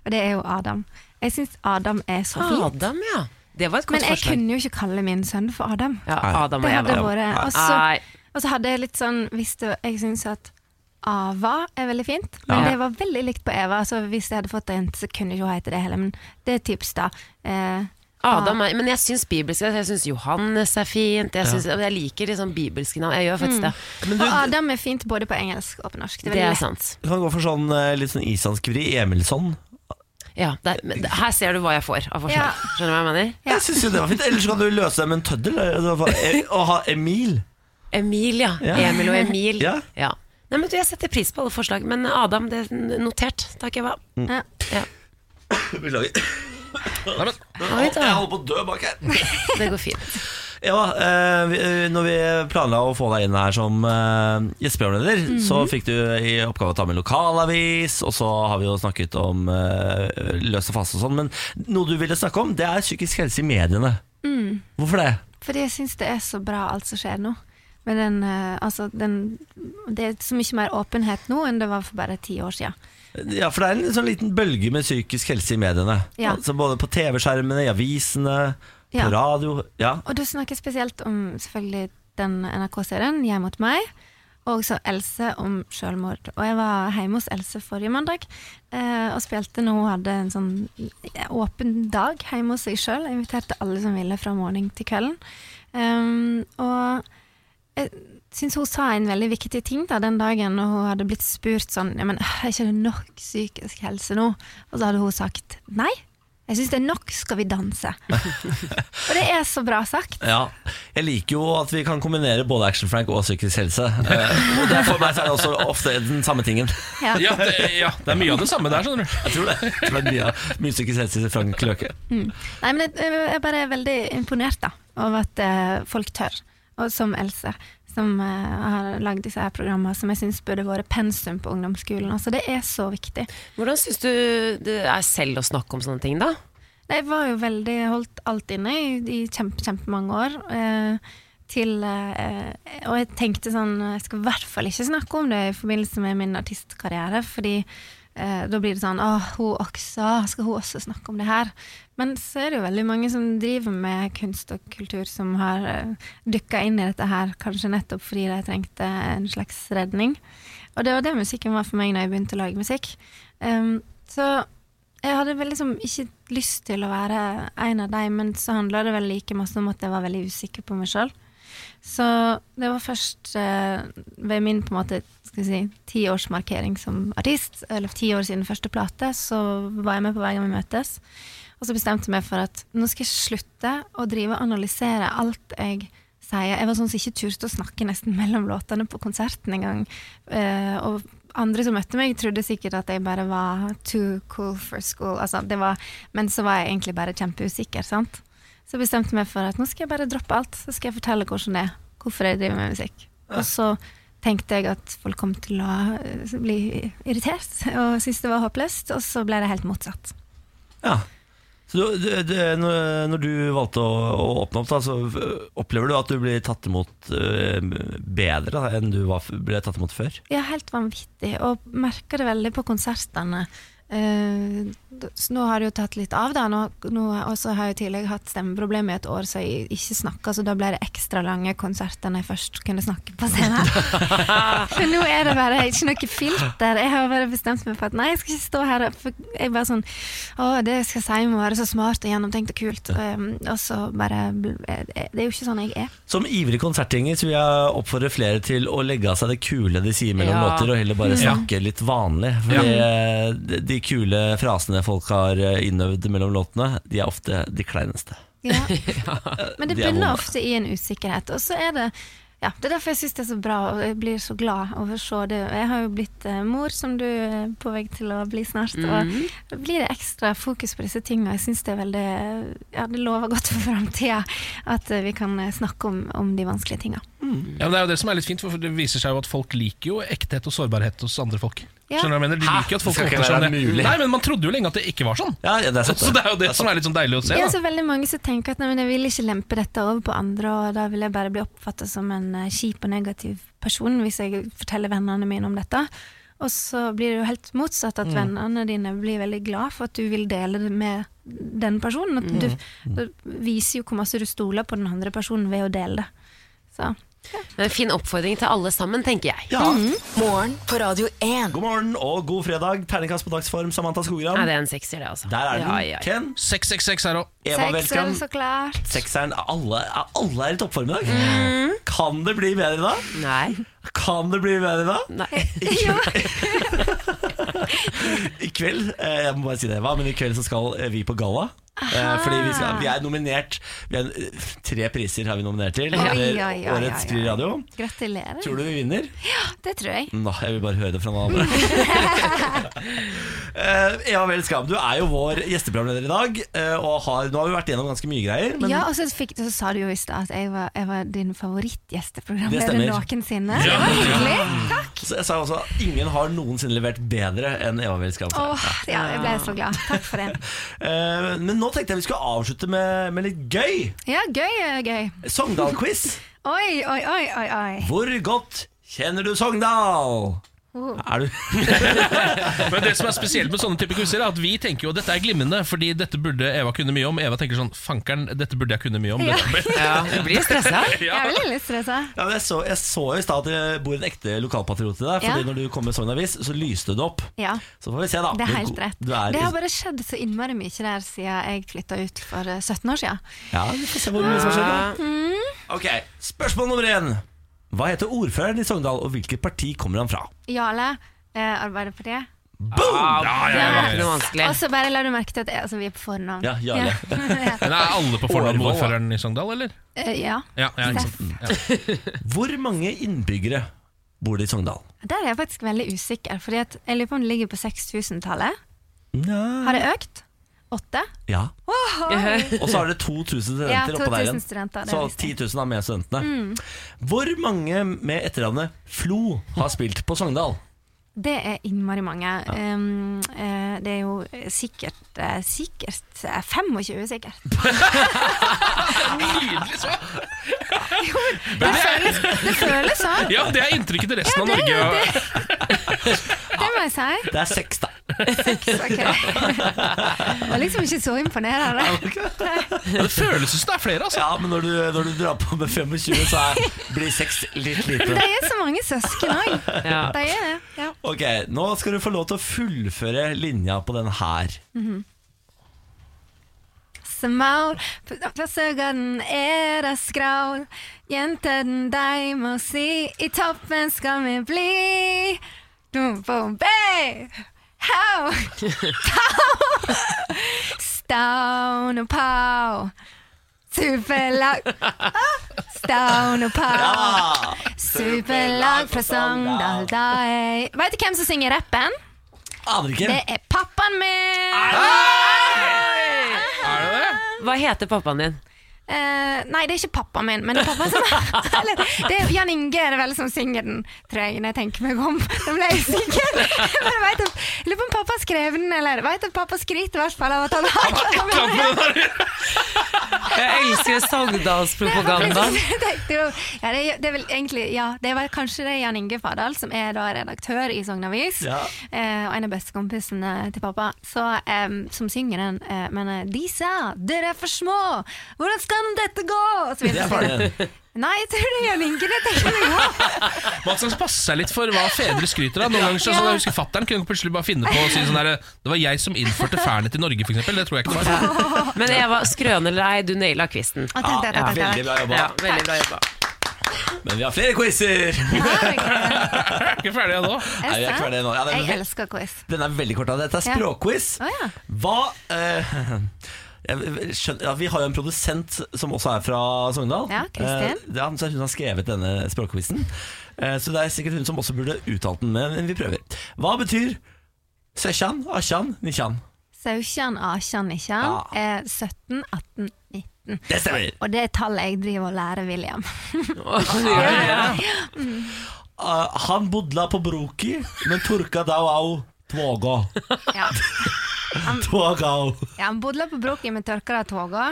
og det er jo Adam. Jeg syns Adam er så fint.
Adam, ja. Det var et
Men
godt
jeg
forslag.
kunne jo ikke kalle min sønn for Adam.
Ja, Adam
Det
og
hadde
Eva.
vært Og så-
Nei,
og så hadde jeg litt sånn Hvis det, jeg syns at Ava er veldig fint, men
Ja.
det var veldig likt på Eva. Så hvis jeg hadde fått det inn, så kunne ikke hun hete det heller. Men det er et tips, da. Eh,
Adam er, men jeg syns bibelsk Jeg syns Johannes er fint. Jeg, syns, jeg liker liksom bibelske navn. Jeg gjør
Mm.
faktisk det.
og Adam er fint både på engelsk og på norsk. Det er
Det
veldig
er
lett.
sant.
Du kan gå for sånn eh, litt sånn islandsk vri. Emilsson.
Ja, det er, men det- her ser du hva jeg får av forslag.
Ja.
Skjønner du hva jeg mener?
Ja.
Jeg syns jo det var fint. Ellers kan du løse det med en tøddel. altså, for- e- Å ha Emil.
Emil, ja.
Ja.
Emil og Emil.
Ja.
Nei, men du, Jeg setter pris på alle forslag, men Adam, det er notert. Takk, Eva.
Ja.
Beklager.
Nei, men,
Oi,
Jeg
da.
holder på å dø bak her.
[laughs] Det går fint.
Ja, eh, vi- eh, når vi planla å få deg inn her som eh, gjesteprogramleder,
Mhm.
så fikk du i oppgave å ta med lokalavis, og så har vi jo snakket om eh, løs og fast og sånn. Men noe du ville snakke om, det er psykisk helse i mediene. Hvorfor det?
Mm, Fordi jeg syns det er så bra alt som skjer nå. Men den, eh, altså, den, det er så mye mer åpenhet nå enn det var for bare ti år siden.
Ja, for det er en sånn liten bølge med psykisk helse i mediene.
Ja.
Altså både på TV-skjermene, i avisene, på
Ja.
radio. Ja.
Og da snakker jeg spesielt om selvfølgelig den NRK-serien 'Jeg mot meg', og også Else om selvmord. Og jeg var hjemme hos Else forrige mandag eh, og spilte når hun hadde en sånn åpen dag hjemme hos seg sjøl. Jeg inviterte alle som ville fra morgen til kvelden. Um, og jeg syns hun sa en veldig viktig ting da, den dagen når hun hadde blitt spurt sånn ja, men, «Øh, Er ikke det nok psykisk helse nå? Og så hadde hun sagt nei. Jeg syns det er nok, skal vi danse. og det er så bra sagt.
Ja, Jeg liker jo at vi kan kombinere både Action-Frank og psykisk
[laughs]
helse. Eh, og det er For meg så er det også ofte den samme tingen.
Ja.
Ja det, ja, det er mye av det samme der, skjønner du.
Jeg tror det. Jeg tror det er mye, av- mye psykisk helse i Frank Løke.
Mm. Nei, men jeg, jeg er bare veldig imponert da, over at eh, folk tør, og som Else, som eh, har lagd disse her programmene som jeg syns burde vært pensum på ungdomsskolen. Altså, det er så viktig.
Hvordan syns du det er selv å snakke om sånne ting, da?
Nei, Jeg var jo veldig holdt alt inne i, i kjempe, kjempemange år. Eh, til, eh, og jeg tenkte sånn Jeg skal i hvert fall ikke snakke om det i forbindelse med min artistkarriere, fordi eh, da blir det sånn Å, hun også. Skal hun også snakke om det her? Men så er det jo veldig mange som driver med kunst og kultur, som har eh, dykka inn i dette her, kanskje nettopp fordi de trengte en slags redning. Og det var det musikken var for meg da jeg begynte å lage musikk. Um, så jeg hadde vel liksom ikke lyst til å være en av dem, men så handla det vel like masse om at jeg var veldig usikker på meg sjøl. Så det var først eh, ved min på en måte, skal jeg si, tiårsmarkering som artist, eller ti år siden første plate, så var jeg med på Hver gang vi møtes. Og så bestemte jeg meg for at nå skal jeg slutte å drive og analysere alt jeg sier. Jeg var sånn som ikke turte å snakke nesten mellom låtene på konserten engang. Eh, og andre som møtte meg, trodde sikkert at jeg bare var too cool for school. Altså, det var, men så var jeg egentlig bare kjempeusikker. sant? Så bestemte jeg meg for at nå skal jeg bare droppe alt. Så skal jeg fortelle hvordan det er, hvorfor jeg driver med musikk. Og så tenkte jeg at folk kom til å eh, bli irritert [laughs] og synes det var håpløst, og så ble det helt motsatt.
Ja. Så du, du, du, når når du valgte å, å åpne opp, da, så øh, opplever du at du blir tatt imot øh, bedre da, enn du var, f- ble tatt imot før?
Ja, helt vanvittig. Og merker det veldig på konsertene. Eh, d- så nå har det jo tatt litt av, da. Nå, nå, og så har jeg jo tidligere hatt stemmeproblemer i et år, så jeg ikke snakka, så da ble det ekstra lange konserter når jeg først kunne snakke på scenen. For nå er det bare ikke noe filter. Jeg har bare bestemt meg for at nei, jeg skal ikke stå her. og- For jeg bare sånn Å, det jeg skal si må være så smart og gjennomtenkt og kult. Um, og så bare bl- eh, Det er jo ikke sånn jeg er.
Som ivrig konsertgjenger så vil jeg oppfordre flere til å legge av seg det kule de sier mellom
Ja. Mm.
låter, og heller bare snakke litt vanlig. For de, de kule frasene folk har eh, innøvd mellom låtene, de er ofte de kleineste.
Ja. Men det
de er vonde.
bunner ofte i en usikkerhet. Og så er det ja, Det er derfor jeg syns det er så bra, og jeg blir så glad over å se det. Jeg har jo blitt eh, mor, som du er på vei til å bli snart. Og da blir det ekstra fokus på disse tingene. Jeg syns det er veldig Ja, det lover godt for framtida at eh, vi kan eh, snakke om, om de vanskelige tinga.
Ja, men det er jo det som er litt fint, for det viser seg jo at folk liker jo ekthet og sårbarhet hos andre folk.
Ja.
Skjønner du hva jeg mener? De
Hæ?
liker jo at folk
Det skal ikke
åpner seg om
være
det.
mulig.
Nei, men man trodde jo lenge at det ikke var sånn.
Ja, ja, det er sant.
[laughs] Så det er jo det som er litt sånn deilig å se.
Ja,
Da.
så veldig mange som tenker at nei, men jeg vil ikke lempe dette over på andre, og da vil jeg bare bli oppfatta som en eh, kjip og negativ person hvis jeg forteller vennene mine om dette. Og så blir det jo helt motsatt,
Mm.
at vennene dine blir veldig glad for at du vil dele det med den personen. At
Mm.
du, du viser jo hvor masse du stoler på den andre personen ved å dele det. Så
En fin oppfordring til alle sammen, tenker jeg.
Ja.
Morgen på Radio 1.
God morgen og god fredag. Terningkast på dagsform, Samantha Skogran.
Nei, det er en sekser, det, altså.
Der er den.
Ja, ja, altså. ja.
Ken,
666 her òg.
Sekser,
Eva Welskam.
så klart.
Sekseren. Alle, alle er i toppform i dag. Kan det bli bedre da?
Mm. Nei.
Kan det bli bedre da?
Nei.
I kveld, eh, jeg må bare si det, Eva, men i kveld så skal eh, vi på galla. Eh, Fordi vi, skal, vi er nominert vi er, eh, Tre priser har vi nominert til.
Oi,
under
oi, oi, oi,
Årets
oi.
Fri radio.
Gratulerer.
Tror du vi vinner?
Det tror jeg.
Nå, jeg vil bare høre det fra noen andre.
[laughs]
Eh, Eva Vel Skam, du er jo vår gjesteprogramleder i dag. eh, Og har, nå har vi vært gjennom ganske mye greier. Men
ja, altså, og så, fikk, så sa du jo i stad at jeg var, jeg var din favorittgjesteprogramleder
Det stemmer.
noensinne. Det var hyggelig. Takk.
så jeg sa også at ingen har noensinne levert bedre enn Eva Vel Skam.
Åh, ja, jeg ble så glad. Takk for det.
Eh, Men nå tenkte jeg vi skulle avslutte med, med litt gøy.
Ja, gøy er gøy.
Sogndal-quiz.
Oi, oi, oi, oi, oi.
Hvor godt kjenner du Sogndal?
Oh.
Er du
[laughs] Men det som er spesielt med sånne type quizer, er at vi tenker jo at dette er glimrende, fordi dette burde Eva kunne mye om. Eva tenker sånn Fankeren, dette burde jeg kunne mye [laughs] om. Dette.
Ja, du blir
[laughs]
stressa.
Jeg blir litt stressa.
Ja, men jeg, så, jeg så jo i stad at det bor en ekte lokalpatriot i deg. Fordi
Ja.
når du kom med Sogn Avis, så lyste det opp.
Ja.
Så får vi se, da.
Det er
Hvor
helt
god
rett.
Du er
Det har
i-
bare skjedd så innmari mye der siden jeg flytta ut for eh, 17 år siden. Eh, hmm,
Ja, vi får se hvor mye som skjer. da. Ok, Spørsmål nummer én. Hva heter ordføreren i Sogndal, og hvilket parti kommer han fra?
Jarle, eh, Arbeiderpartiet.
Boom!
Ja, ja,
Det
ja,
var ikke
ja.
noe vanskelig.
Og så bare la du merke til at jeg, altså, vi er på fornavn.
Ja, Jarle.
Ja. [laughs]
Men er alle på fornavn med
Årvoll, da.
ordføreren i Sogndal, eller?
Eh, ja.
Ja, ja, ikke sant. ja.
Hvor mange innbyggere bor det i Sogndal?
Der er jeg faktisk veldig usikker, Fordi at jeg lurer på om det ligger på 6000-tallet.
Nja.
Har det økt? Åtte?
Ja.
Wow.
[laughs] Og så har det 2000 studenter
Ja,
oppå der
2000
igjen.
studenter. Det Mm.
Så
er riktig.
10 000 er med studentene. Hvor mange med etternavnet Flo har spilt på Sogndal?
Det er innmari mange. Um, eh, det er jo sikkert eh, Sikkert eh, 25, sikkert.
Nydelig svar!
Det føles, det føles sånn.
Ja, det er inntrykket til resten av
det er
Norge.
Det må jeg si.
Det er seks, da.
Ok. Det var liksom ikke så imponerende.
Ja, det føles som det er flere, altså.
Ja, men når du, når du drar på med 25, så er, blir seks litt lite.
De er så mange søsken òg.
Ja.
De er det. Ja.
Ok, nå skal du få lov til å fullføre linja på den her.
Smaul, fra Søgarden er det skraul. Jentene de må si, i toppen skal vi bli. Dum, bom, bay! How? Pow! Staun og pow. Superlag Ah! Staun og pow.
Ah,
Superlag fra Sogndal, da er Veit du hvem som synger rappen?
aner ikke.
Det er pappaen min! Ah!
Er det det?
[laughs] Hva heter pappaen din?
Eh, nei, det er ikke pappaen min, men det er pappaen som [laughs] Eller, det er Jan Inge er det vel som synger den, tror jeg, når jeg tenker meg om. [laughs] Da ble jeg usikker. [laughs] Men jeg vet at- jeg Lurer på om pappa skrev den, eller jeg vet at pappa skryter i hvert fall av at han har
Klart med det der.
Jeg elsker
[laughs]
Sogndalspropaganda.
Jeg tenkte jo- Ja, det, er- det er vel egentlig Ja, det var kanskje det er Jan Inge Fardal, som er da redaktør i Sogn Avis,
Ja.
eh, og en av bestekompisene til pappa, så, em, som synger den. Eh, men eh, de sa 'dere er for små', 'hvordan skal dette gå?' Og så
Det
videre.
er faren din.
Nei, jeg tror det er Jan Inge. Det tenker jeg på.
Man skal passe seg litt for hva fedre skryter av. Noen ganger så,
Ja.
sånn, jeg husker Fattern kunne plutselig bare finne på å si sånn der Det var jeg som innførte fernet i Norge, f.eks. Det tror jeg ikke det var.
Men Eva, skrøne eller ei, du naila kvisten.
Å, takk, takk, takk, takk.
Veldig bra jobba.
Ja, veldig bra jobba.
Men vi har flere quizer!
Herregud.
Jeg er ikke ferdig ennå.
Er
Nei, vi er
det
ikke ferdig
sant?
ennå. Ja, det er
Jeg
vel-
elsker quiz.
Den er veldig kort. da. Dette er
Ja.
språkquiz.
Å, ja.
Hva eh, [laughs] jeg skjønner, ja, Vi har jo en produsent som også er fra Sogndal.
Ja, Kristin.
Eh, det er han- så hun har skrevet denne språkquizen. Eh, så det er sikkert hun som også burde uttalt den, men vi prøver. Hva betyr Sesjan, Asjan, Nishan?
Saukjan, Akjan, Nikjan
Ja.
er 17, 18, 19.
Det stemmer!
Og det er tallet jeg driver og lærer William. [laughs] Mm.
Eh, han bodla på broki, men turka da au
[laughs]
tvåga.
Ja.
Tvågau.
Ja, han bodde på broken med tørker av toga.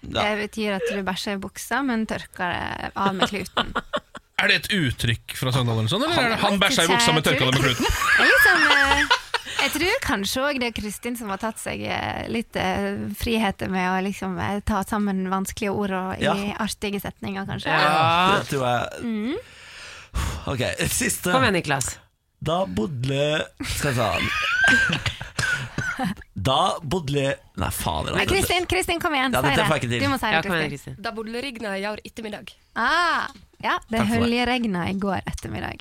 Det
Ja.
betyr at du bæsjer i buksa, men tørker det av med kluten.
Er det et uttrykk fra Sogndal eller sånn, eller er det han bæsja i buksa med tørka det med kluten?
Det er liksom, eh, jeg tror kanskje òg det er Kristin som har tatt seg eh, litt eh, friheter med å liksom eh, ta sammen vanskelige ord og i
Ja.
artige setninger, kanskje.
Ja.
Det tror jeg
Mm.
Ok, siste.
Kom igjen, Niklas.
Da bodde Skal jeg ta Da bodde Nei, fader.
Nei,
altså.
Kristin, Kristin, kom igjen,
Ja,
si
dette
det.
får jeg ikke til.
Du må si
Ja,
det,
kom igjen,
Kristin.
Kristin.
Da bodde regna i går ettermiddag.
Ah, ja, det
Takk for meg.
høljeregna i går ettermiddag.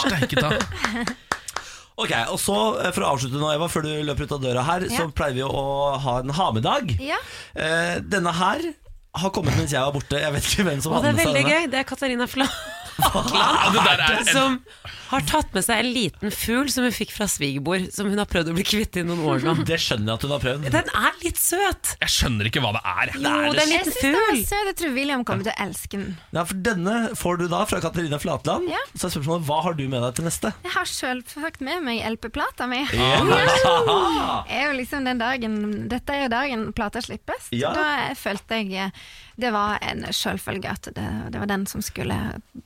Steike ta.
Ok, og så eh, For å avslutte nå, Eva, før du løper ut av døra her, så
Ja.
pleier vi å ha en ha-med-dag.
Ja.
Eh, denne her har kommet mens jeg var borte. Jeg vet ikke hvem som
Og det
hadde
er
med seg
veldig
denne.
gøy. Det er Katarina Fla
Ja, det der er en
som har tatt med seg en liten fugl som hun fikk fra svigerbord, som hun har prøvd å bli kvitt i noen år nå.
Det skjønner jeg at hun har prøvd.
Den er litt søt!
Jeg skjønner ikke hva det er.
Jo, det er en
Jeg
liten
synes den var
fugl.
søt. Jeg tror William kommer til å elske den.
Ja, for Denne får du da fra Katarina Flatland.
Ja.
Så er spørsmålet hva har du med deg til neste?
Jeg har sjølsagt med meg LP-plata mi. [laughs]
Ja.
er jo liksom den dagen, dette er jo dagen plata slippes.
Ja.
Da følte jeg eh, det var en selvfølge at det, det var den som skulle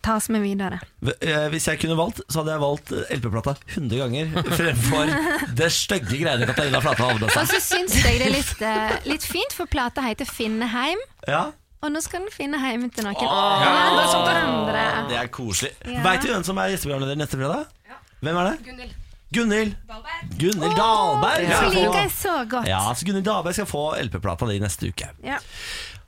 tas med videre.
Eh, Hvis jeg kunne valgt, så hadde jeg valgt eh, LP-plata 100
[laughs]
ganger fremfor det stygge greiene Katarina Flatland hadde med
Og
seg.
Altså, så syns jeg det er litt, eh, litt fint, for plata heter 'Finneheim',
Ja,
og nå skal den finne heim til noen andre. Som andre.
Det er koselig.
Ja.
Veit du hvem som er gjesteprogramleder neste fredag? Hvem er det? Gunhild. Gunhild Dahlberg.
Så
skal
liker
få-
jeg så godt.
Ja, så Gunhild Dahlberg skal få LP-plata di neste uke.
Ja.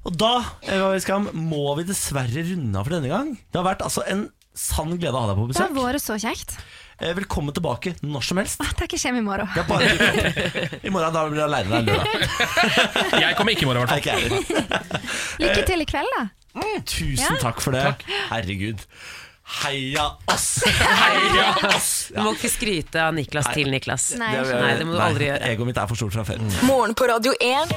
Og da Eva Wiskam, må vi dessverre runde av for denne gang. Det har vært altså en sann glede å ha deg på
Det har
besøk.
vært så kjekt.
Eh, Velkommen tilbake når som helst.
Å, takk, jeg kommer i morgen.
Det er bare å dukke
[laughs]
opp. I morgen da blir du aleine der lørdag.
Jeg kommer ikke i morgen, i hvert fall.
Er ikke jeg heller.
Lykke til i kveld, da.
Tusen takk for det. Herregud. Heia oss! Heia oss!
Du må ikke skryte av Niklas til Niklas.
Nei.
Nei, det må du aldri gjøre.
Egoet mitt er for stort fra før.
Mm.
Morgen på Radio 1.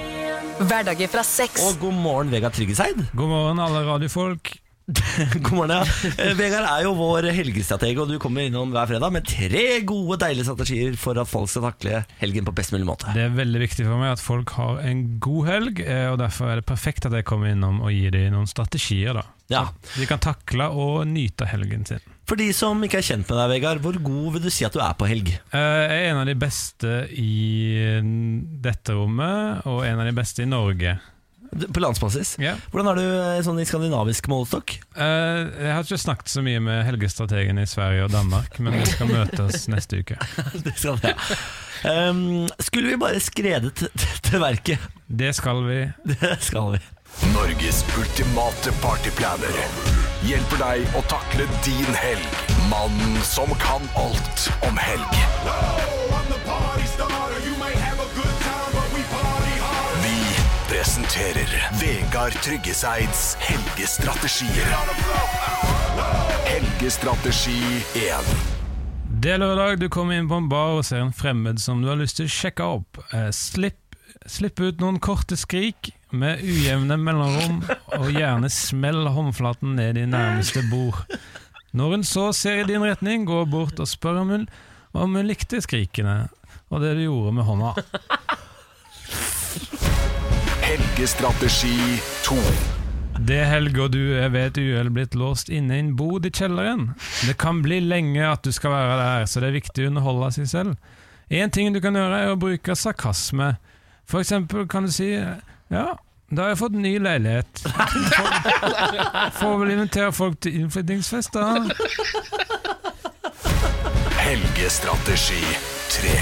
Hverdager fra seks.
Og god morgen, Vegard Tryggeseid.
God morgen, alle radiofolk.
[laughs] God morgen, ja. Eh, Vegard er jo vår helgestrateg, og du kommer innom hver fredag med tre gode, deilige strategier for at folk skal takle helgen på best mulig måte.
Det er veldig viktig for meg at folk har en god helg, eh, og derfor er det perfekt at jeg kommer innom og gir dem noen strategier. da.
Ja.
Så de kan takle og nyte helgen sin.
For de som ikke er kjent med deg, Vegard, hvor god vil du si at du er på helg?
Eh, Jeg er en av de beste i dette rommet, og en av de beste i Norge.
D- På landsbasis?
Ja.
Hvordan er du eh, sånn i skandinavisk målestokk?
Eh, Jeg har ikke snakket så mye med helgestrategen i Sverige og Danmark, men vi skal møtes neste uke.
[laughs] Det skal det. Um, skulle vi bare skredet t- t- til verket?
Det skal vi.
[laughs] Det skal vi.
Norges ultimate partyplaner hjelper deg å takle din helg. Mannen som kan alt om helg. Vi presenterer Vegard Tryggeseids helgestrategier. Helgestrategi 1.
Det er lørdag, du kommer inn på en bar og ser en fremmed som du har lyst til å sjekke opp. Eh, Slipp, slipp ut noen korte skrik med ujevne mellomrom, og gjerne smell håndflaten ned i nærmeste bord. Når hun så ser i din retning, gå bort og spør om hun, om hun likte skrikene og det du gjorde med hånda.
Helgestrategi 2.
Det er helg, og du er ved et uhell blitt låst inne i en bod i kjelleren. Det kan bli lenge at du skal være der, så det er viktig å underholde seg selv. En ting du kan gjøre er å bruke sarkasme. For eksempel kan du si Ja, da har jeg fått ny leilighet. Får- Får vel invitere folk til innflyttingsfest, da.
Helgestrategi 3.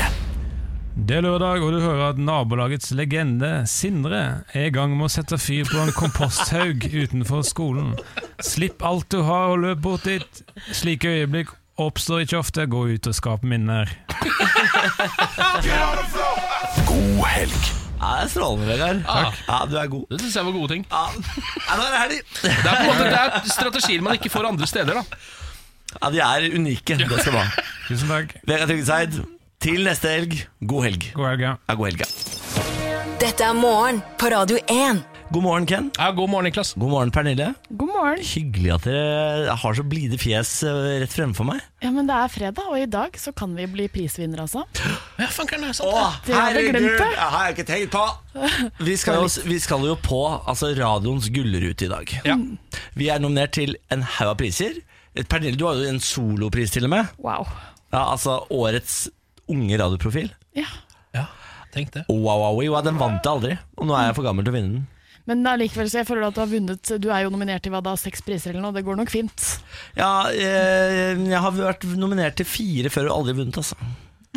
Det er lørdag, og du hører at nabolagets legende, Sindre, er i gang med å sette fyr på en komposthaug utenfor skolen. Slipp alt du har og løp bort dit. Slike øyeblikk oppstår ikke ofte. Gå ut og skap minner.
God helg.
Ja, det er strålende, Vegard. Ja, du er god.
Det synes jeg var gode ting.
Ja, ja nå er det helg!
Det er på en måte det er strategier man ikke får andre steder. da
Ja, de er unike. Det skal du ha.
[laughs] Tusen takk.
Vegard Tryggeseid, til neste helg, god helg.
God helg. ja.
Ja, god helg. ja.
Dette er morgen på Radio 1.
God morgen, Ken.
Ja, God morgen, Niklas.
God morgen, Pernille. God morgen Hyggelig at dere har så blide fjes eh, rett fremfor meg.
Ja, men det er fredag, og i dag så kan vi bli prisvinner, altså.
Ja, fanken, det er sant.
Det hadde jeg glemt det.
har jeg ikke tenkt på! Vi skal jo, vi skal jo på altså, radioens gullrute i dag.
Ja.
Vi er nominert til en haug av priser. Pernille, du har jo en solopris til og med.
Wow.
Ja, altså Årets unge radioprofil.
Ja.
Ja, tenk det.
Wow, wow, wow, wow, den vant jeg aldri, og nå er jeg for gammel til å vinne den.
Men allikevel, så jeg føler at du har vunnet Du er jo nominert til hva da, seks priser eller noe, det går nok fint.
Ja, eh, jeg har vært nominert til fire før og aldri vunnet, altså.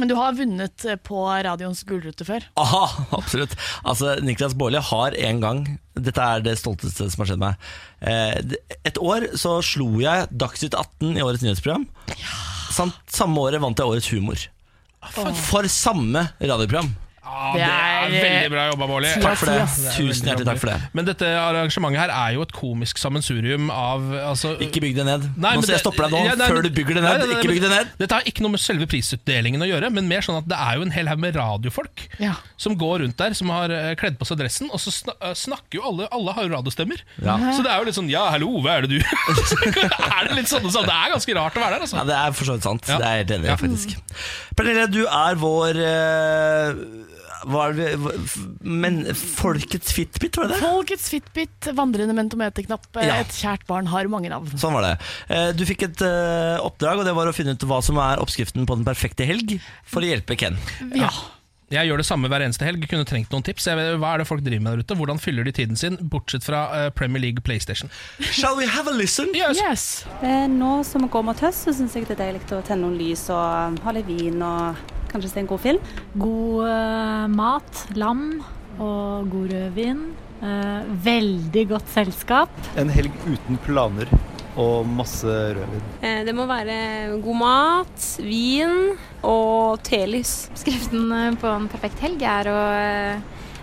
Men du har vunnet eh, på radioens gullrute før.
Aha, absolutt. Altså, Niklas Baarli har en gang Dette er det stolteste som har skjedd meg. Eh, det- Et år så slo jeg Dagsnytt 18 i årets nyhetsprogram. Samt, samme året vant jeg Årets humor. For samme radioprogram.
Ja, det er veldig bra jobba, Bårli.
Takk for det. Tusen hjertelig takk for det.
Men dette arrangementet her er jo et komisk sammensurium av altså,
Ikke bygg det ned. Nå skal jeg stoppe deg nå, før du bygger det ned. Ikke bygg det ned.
Dette har ikke noe med selve prisutdelingen å gjøre, men mer sånn at det er jo en hel haug med radiofolk
Ja.
som går rundt der, som har eh, kledd på seg dressen, og så sna eh, snakker jo alle Alle har jo radiostemmer.
Ja.
Så det er jo litt sånn Ja, hallo, hva er det du [laughs] Er det litt sånn, sånn, Det er ganske rart å være der, altså.
Ja, det er for så vidt sant.
Ja.
Det er jeg helt enig i,
Ja.
faktisk. Pernille, du er vår eh, Hva er det hva- f- Men folkets fitbit, var det det?
Folkets Fitbit, vandrende mentometerknapp. eh,
Ja.
Et kjært barn har mange navn.
Sånn var det. Eh, Du fikk et eh, oppdrag, og det var å finne ut hva som er oppskriften på den perfekte helg, for å hjelpe Ken.
Ja.
Jeg gjør det samme hver eneste helg. Kunne trengt noen tips. Jeg vet, hva er det folk driver med der ute? Hvordan fyller de tiden sin, bortsett fra eh, Premier League PlayStation?
Shall we have a listen?
Yes.
Eh, Nå som vi går mot høst, så syns jeg det er deilig å tenne noen lys og ha litt vin og kanskje se en god film.
God eh, mat, lam og god rødvin. Eh, veldig godt selskap.
En helg uten planer og masse rødvin.
Eh, Det må være god mat, vin og telys.
Skriften eh, på en perfekt helg er å eh,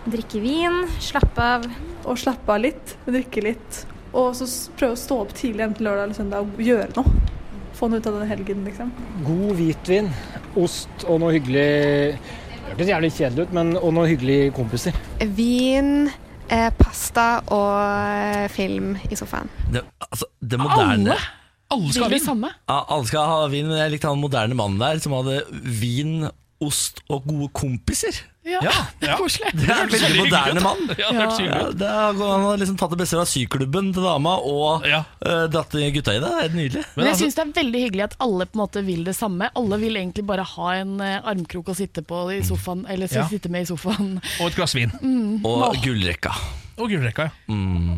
drikke vin, slappe av.
og slappe av litt, drikke litt. Og så s- prøve å stå opp tidlig enten lørdag eller søndag og gjøre noe. Få noe ut av den helgen, liksom.
God hvitvin, ost og noe hyggelig Det hørtes jævlig kjedelig ut, men og noen hyggelige kompiser.
Vin, eh, pasta og eh, film i sofaen.
Det, altså, det moderne
Alle
skal ha vin.
samme.
ja, Alle skal ha vin, men jeg likte han moderne mannen der som hadde vin, ost og gode kompiser.
Ja, det er koselig.
Det er en
hørtes veldig
veldig
hyggelig
moderne
ut.
mann.
Ja, det hørtes hyggelig ut.
det er- han har liksom tatt det beste fra syklubben til dama og eh, dratt gutta i det. Det er helt nydelig. altså-
Men altså- jeg syns det er veldig hyggelig at alle på en måte vil det samme. Alle vil egentlig bare ha en eh, armkrok å sitte på i sofaen, eller
Ja.
sitte med i sofaen.
Og et glass vin.
Mm.
Og
Åh.
gullrekka.
Og gullrekka, ja.
Mm.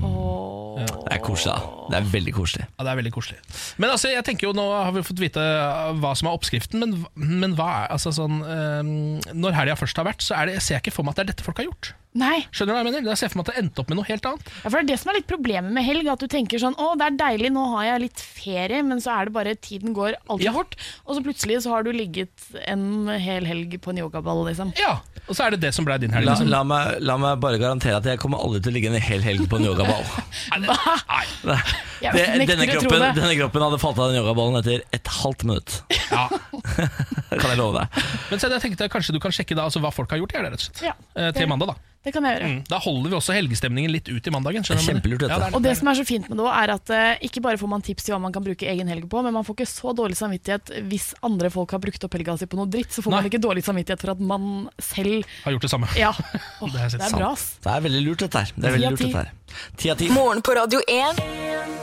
Det er koselig. da. Det er veldig koselig.
Ja, det er veldig koselig. Men altså, jeg tenker jo Nå har vi fått vite eh, hva som er oppskriften, men, hva- men hva er altså sånn eh, Når helga først har vært, så er det, jeg ser jeg ikke for meg at det er dette folk har gjort.
Nei.
Skjønner du hva jeg mener? Jeg ser for meg at det endte opp med noe helt annet.
Ja, for Det er det som er litt problemet med helg. At du tenker sånn Å, det er deilig, nå har jeg litt ferie. Men så er det bare tiden går altfor fort. Og så plutselig så har du ligget en hel helg på en yogaball, liksom.
Ja. Og så er det det som ble din helg.
La,
liksom.
la, meg, la meg bare garantere at jeg kommer aldri til å ligge en hel helg på en yogaball.
[laughs] ah,
Nei.
Jeg
Det,
nekter
denne,
å tro
kroppen,
det.
denne kroppen hadde falt av den yogaballen etter et halvt minutt.
Ja.
[laughs] kan jeg love deg.
Men så jeg tenkte kanskje du kan sjekke da altså, hva folk har gjort i helga, rett og slett.
Ja.
Eh, Til mandag, da.
Det kan jeg gjøre.
Mm, da holder vi også helgestemningen litt ut i mandagen. skjønner du hva jeg mener?
Kjempelurt, dette.
Ja, det er-
Og det som er så fint med det også, er at eh, ikke bare får man tips til hva man kan bruke egen helg på, men man får ikke så dårlig samvittighet hvis andre folk har brukt opp helga si på noe dritt. Så får man ikke dårlig samvittighet for at man selv
Har gjort [laughs] det samme.
Ja. Åh, det, er bra, ass.
Det er veldig lurt, dette her. Det er
Ti
veldig
av
lurt,
ti.
dette her. Ti av ti.
Morgen på Radio 1.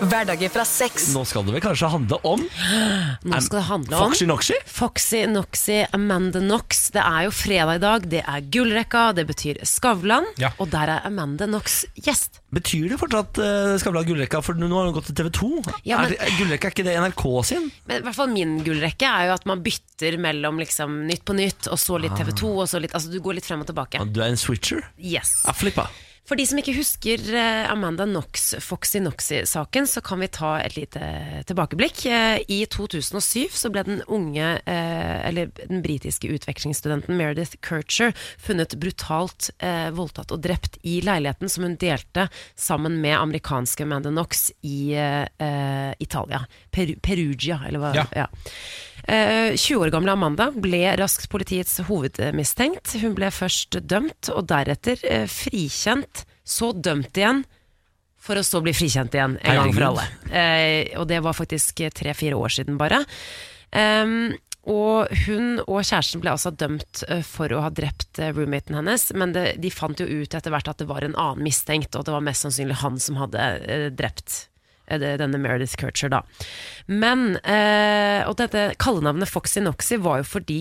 Hverdager fra seks.
Nå skal det vel kanskje handle om
Nå
skal det handle om
Foxy Noxy?
Foxy Noxy, Amanda Knox. Det er jo fredag i dag, det er gullrekka, det betyr Skavlan. Og der er Amanda Knox gjest.
Betyr det fortsatt uh, Skavlan gullrekka? For nå har hun gått til TV 2.
Ja, men-
er, det- gullrekka er ikke det NRK sin?
Men i hvert fall min gullrekke er jo at man bytter mellom liksom Nytt på Nytt, og så
Ah.
litt TV 2, og så litt Altså du går litt frem og tilbake.
Du er en switcher?
Yes.
Ja, flippa.
For de som ikke husker eh, Amanda Knox, Foxy Knoxy-saken, så kan vi ta et lite tilbakeblikk. Eh, I 2007 så ble den unge, eh, eller den britiske utvekslingsstudenten Meredith Kircher funnet brutalt eh, voldtatt og drept i leiligheten som hun delte sammen med amerikanske Amanda Knox i eh, eh, Italia. Per Perugia, eller hva?
Ja.
ja. Eh, 20 år gamle Amanda ble raskt politiets hovedmistenkt. Hun ble først dømt, og deretter eh, frikjent. Så dømt igjen, for å så bli frikjent igjen en gang for
Herregud.
alle. Eh, og det var faktisk tre-fire år siden bare. Ehm, og hun og kjæresten ble altså dømt eh, for å ha drept eh, roommaten hennes, men det, de fant jo ut etter hvert at det var en annen mistenkt, og det var mest sannsynlig han som hadde eh, drept eh, det- denne Meredith Kircher, da. Men eh, Og dette kallenavnet Foxy Noxy var jo fordi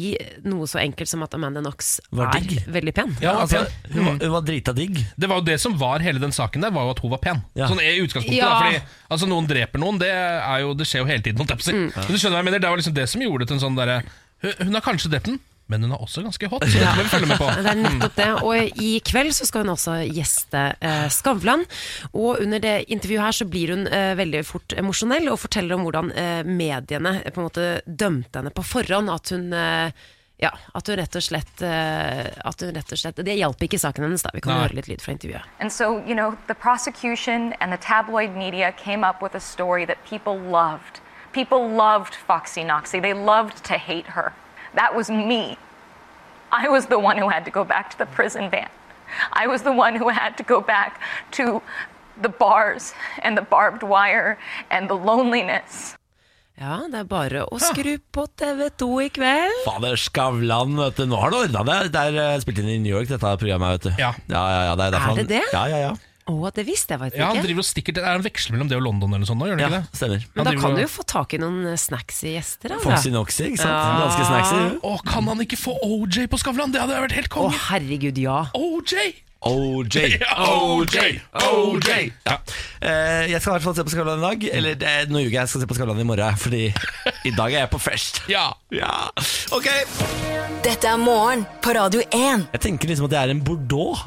noe så enkelt som at Amanda Knox
Var
er
digg.
veldig pen. Mm.
Ja, altså, hun, var, hun var drita digg.
Det var jo det som var hele den saken der, var jo at hun var pen. Sånn i utgangspunktet
Ja.
da, fordi altså, Noen dreper noen, det, er jo, det skjer jo hele tiden. holdt jeg på å si.
Mm.
Men du skjønner hva jeg mener, Det var liksom det som gjorde det til en sånn derre hun, hun har kanskje drept den, men hun er også ganske hot. Så det må vi følge med på.
Det er nettopp det. Og i kveld så skal hun også gjeste eh, Skavlan. Og under det intervjuet her så blir hun eh, veldig fort emosjonell og forteller om hvordan eh, mediene eh, på en måte dømte henne på forhånd. At hun eh, Ja, at hun rett og slett, eh, at hun rett og slett Det hjalp ikke saken hennes, da. Vi kan
Nei.
høre litt lyd fra intervjuet.
And so, you know, the prosecution and the tabloid media came up with a story that people loved. People loved Foxy Noxy. They loved to hate her. That was me. I was the one who had to go back to the prison van. I was the one who had to go back to the bars and the barbed wire and the loneliness.
Ja, det er bare å skru på TV2 i kveld.
Fader Skavlan, vet du. Nå har det ordna det. Det er eh, spilt inn i New York, dette programmet. vet du Ja, ja, ja, det er, derfor
Er det
han-
det?
Ja, ja, ja
Å, det visste jeg faktisk
Mm. Ja, han
ikke.
driver og stikker til, Er han veksler mellom det og London eller noe sånt nå, gjør han
Ja,
ikke det? Stemmer
Men da kan du jo få tak i noen eh, snacksy gjester. da, da.
Foxy Noxy, ikke sant? Ganske snacksy. jo.
Å, kan han ikke få OJ på Skavlan? Det hadde vært helt konge.
Å, herregud, ja.
OJ!
OJ, OJ, OJ ja. Eh, Jeg skal i hvert fall se på Skavlan i dag Eller eh, nå ljuger jeg, jeg skal se på Skavlan i morgen Fordi i dag er jeg på fest
Ja,
ja. Ok
Dette er morgen på Radio 1.
Jeg tenker liksom at det er en Bordeaux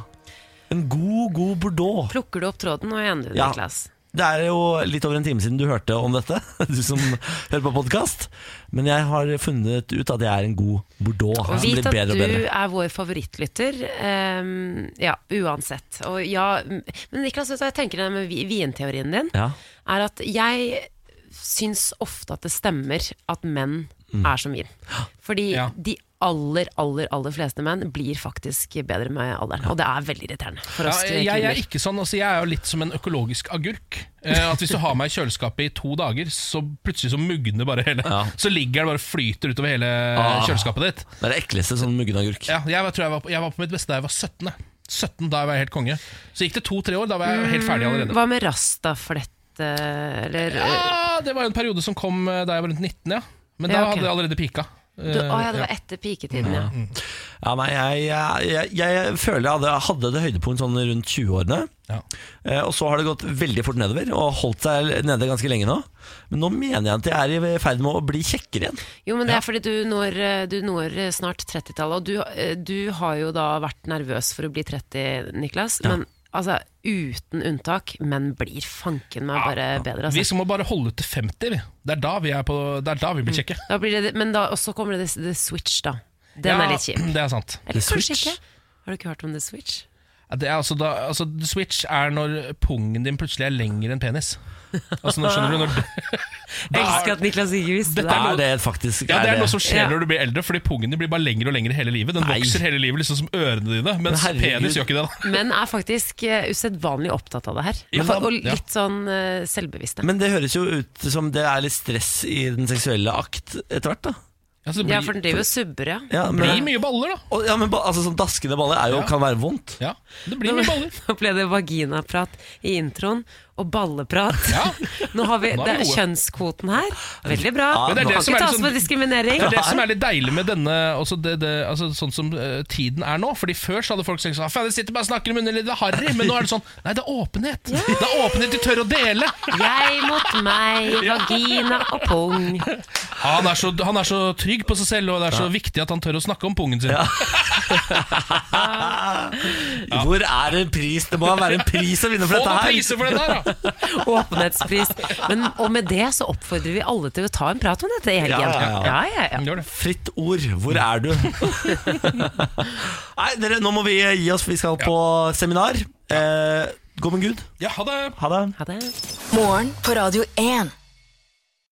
En god, god Bordeaux
Plukker du opp tråden og ender du,
Ja.
Niklas?
Det er jo litt over en time siden du hørte om dette [laughs] Du som hører på podcast Men jeg har funnet ut at jeg er en god Bordeaux
Og
Som
vit
blir
at
bedre og
du
bedre
er vår favorittlytter. ehm, ja, uansett. Og ja, men Niklas, vet du hva jeg tenker det med vi- vinteorien din?
Ja.
Er at jeg syns ofte at det stemmer at menn
Mm.
er som vin. Fordi
Ja.
de aller, aller aller fleste menn blir faktisk bedre med alderen. Og det er veldig irriterende for
Ja,
oss
jeg, jeg er
kvinner.
ikke sånn, altså jeg er jo litt som en økologisk agurk. Eh, at Hvis du har meg i kjøleskapet i to dager, så plutselig så mugner bare hele Så ligger den bare og flyter utover hele
Ah.
kjøleskapet ditt.
Det er det ekleste sånn muggen agurk
Ja, jeg, var- tror jeg, var på, jeg var på mitt beste da jeg var 17. jeg. 17 da jeg var helt konge. Så gikk det to-tre år, da var jeg helt ferdig allerede.
Mm, Hva med rastaflette, eller
Ja, det var jo en periode som kom eh, da jeg var rundt 19, ja. Men da
Ja, ok.
hadde jeg allerede pika.
du, Å ja, det var
Eh,
etter
Mm.
piketiden, ja.
Ja, nei, jeg, jeg, jeg, jeg føler jeg hadde, hadde det høydepunkt sånn rundt 20-årene. Eh, og så har det gått veldig fort nedover, og holdt seg nede ganske lenge nå. Men nå mener jeg at jeg er i ferd med å bli kjekkere igjen.
Jo, men det er fordi du når, eh, du når snart 30-tallet, og du, eh, du har jo da vært nervøs for å bli 30, Niklas.
Ja.
Men altså, uten unntak, men blir fanken meg bare bedre.
Vi
Altså.
som må bare holde ut til 50, vi. Det er da vi, er på, det er da vi
Mm.
blir kjekke.
Da blir det, men da, og så kommer det the switch, da. Den
Ja,
er litt kjip.
Det er sant.
Eller kanskje ikke. Har du ikke hørt om the switch?
Ja, Det er altså da, altså, the switch er når pungen din plutselig er lengre enn penis. Altså, nå skjønner du når
Jeg elsker at Niklas ikke visste
Dette er
Er
noe-
det faktisk
Ja, Det er noe som skjer
Ja.
når du blir eldre, fordi pungen din blir bare lengre og lengre hele livet. Den
Nei.
vokser hele livet, liksom som ørene dine, mens
Men herregud.
penis gjør ikke det. da
Men er faktisk eh, usedvanlig opptatt av det her.
Ja,
og
ja.
litt sånn eh, selvbevisste.
Men det høres jo ut som det er litt stress i den seksuelle akt etter hvert, da.
Altså, det
ja,
blir-
for den driver og subber, ja.
Ja, men- Blir
mye baller, da.
Og, ja, men ba, altså, sånn daskende baller er jo, kan være vondt.
Ja, det blir mye baller.
Nå ble det vaginaprat i introen, og balleprat. [laughs] Nå har vi
Nå er
det
vi
er
gode.
kjønnskvoten her. Veldig bra.
Men det er
kan
det
ikke
som er
tas
litt
for
sånn-
diskriminering.
Det er det som er litt deilig med denne også det, det, altså, Sånn som eh, tiden er nå. Fordi Før så hadde folk sagt sånn Faen, jeg sitter bare og snakker om underlivet harry. Men nå er det sånn Nei, det er åpenhet. Det er åpenhet de tør å dele.
Jeg mot meg,
[laughs]
vagina og pung.
Han er, så, han er så trygg på seg selv, og det er så viktig at han tør å snakke om pungen sin.
Ah.
Hvor er en pris? Det må være en pris å vinne for
Få
dette
noen
her!
priser for dette her, da!
[laughs] Åpenhetspris. Men, og med det så oppfordrer vi alle til å ta en prat om dette i helgen. Ja, ja, ja.
Fritt ord, hvor er
[laughs]
du? Nei, dere, nå må vi gi oss, for vi skal på seminar. Eh, gå med Gud.
Ja, ha det.
Ha det.
Ha det.
Morgen på Radio 1.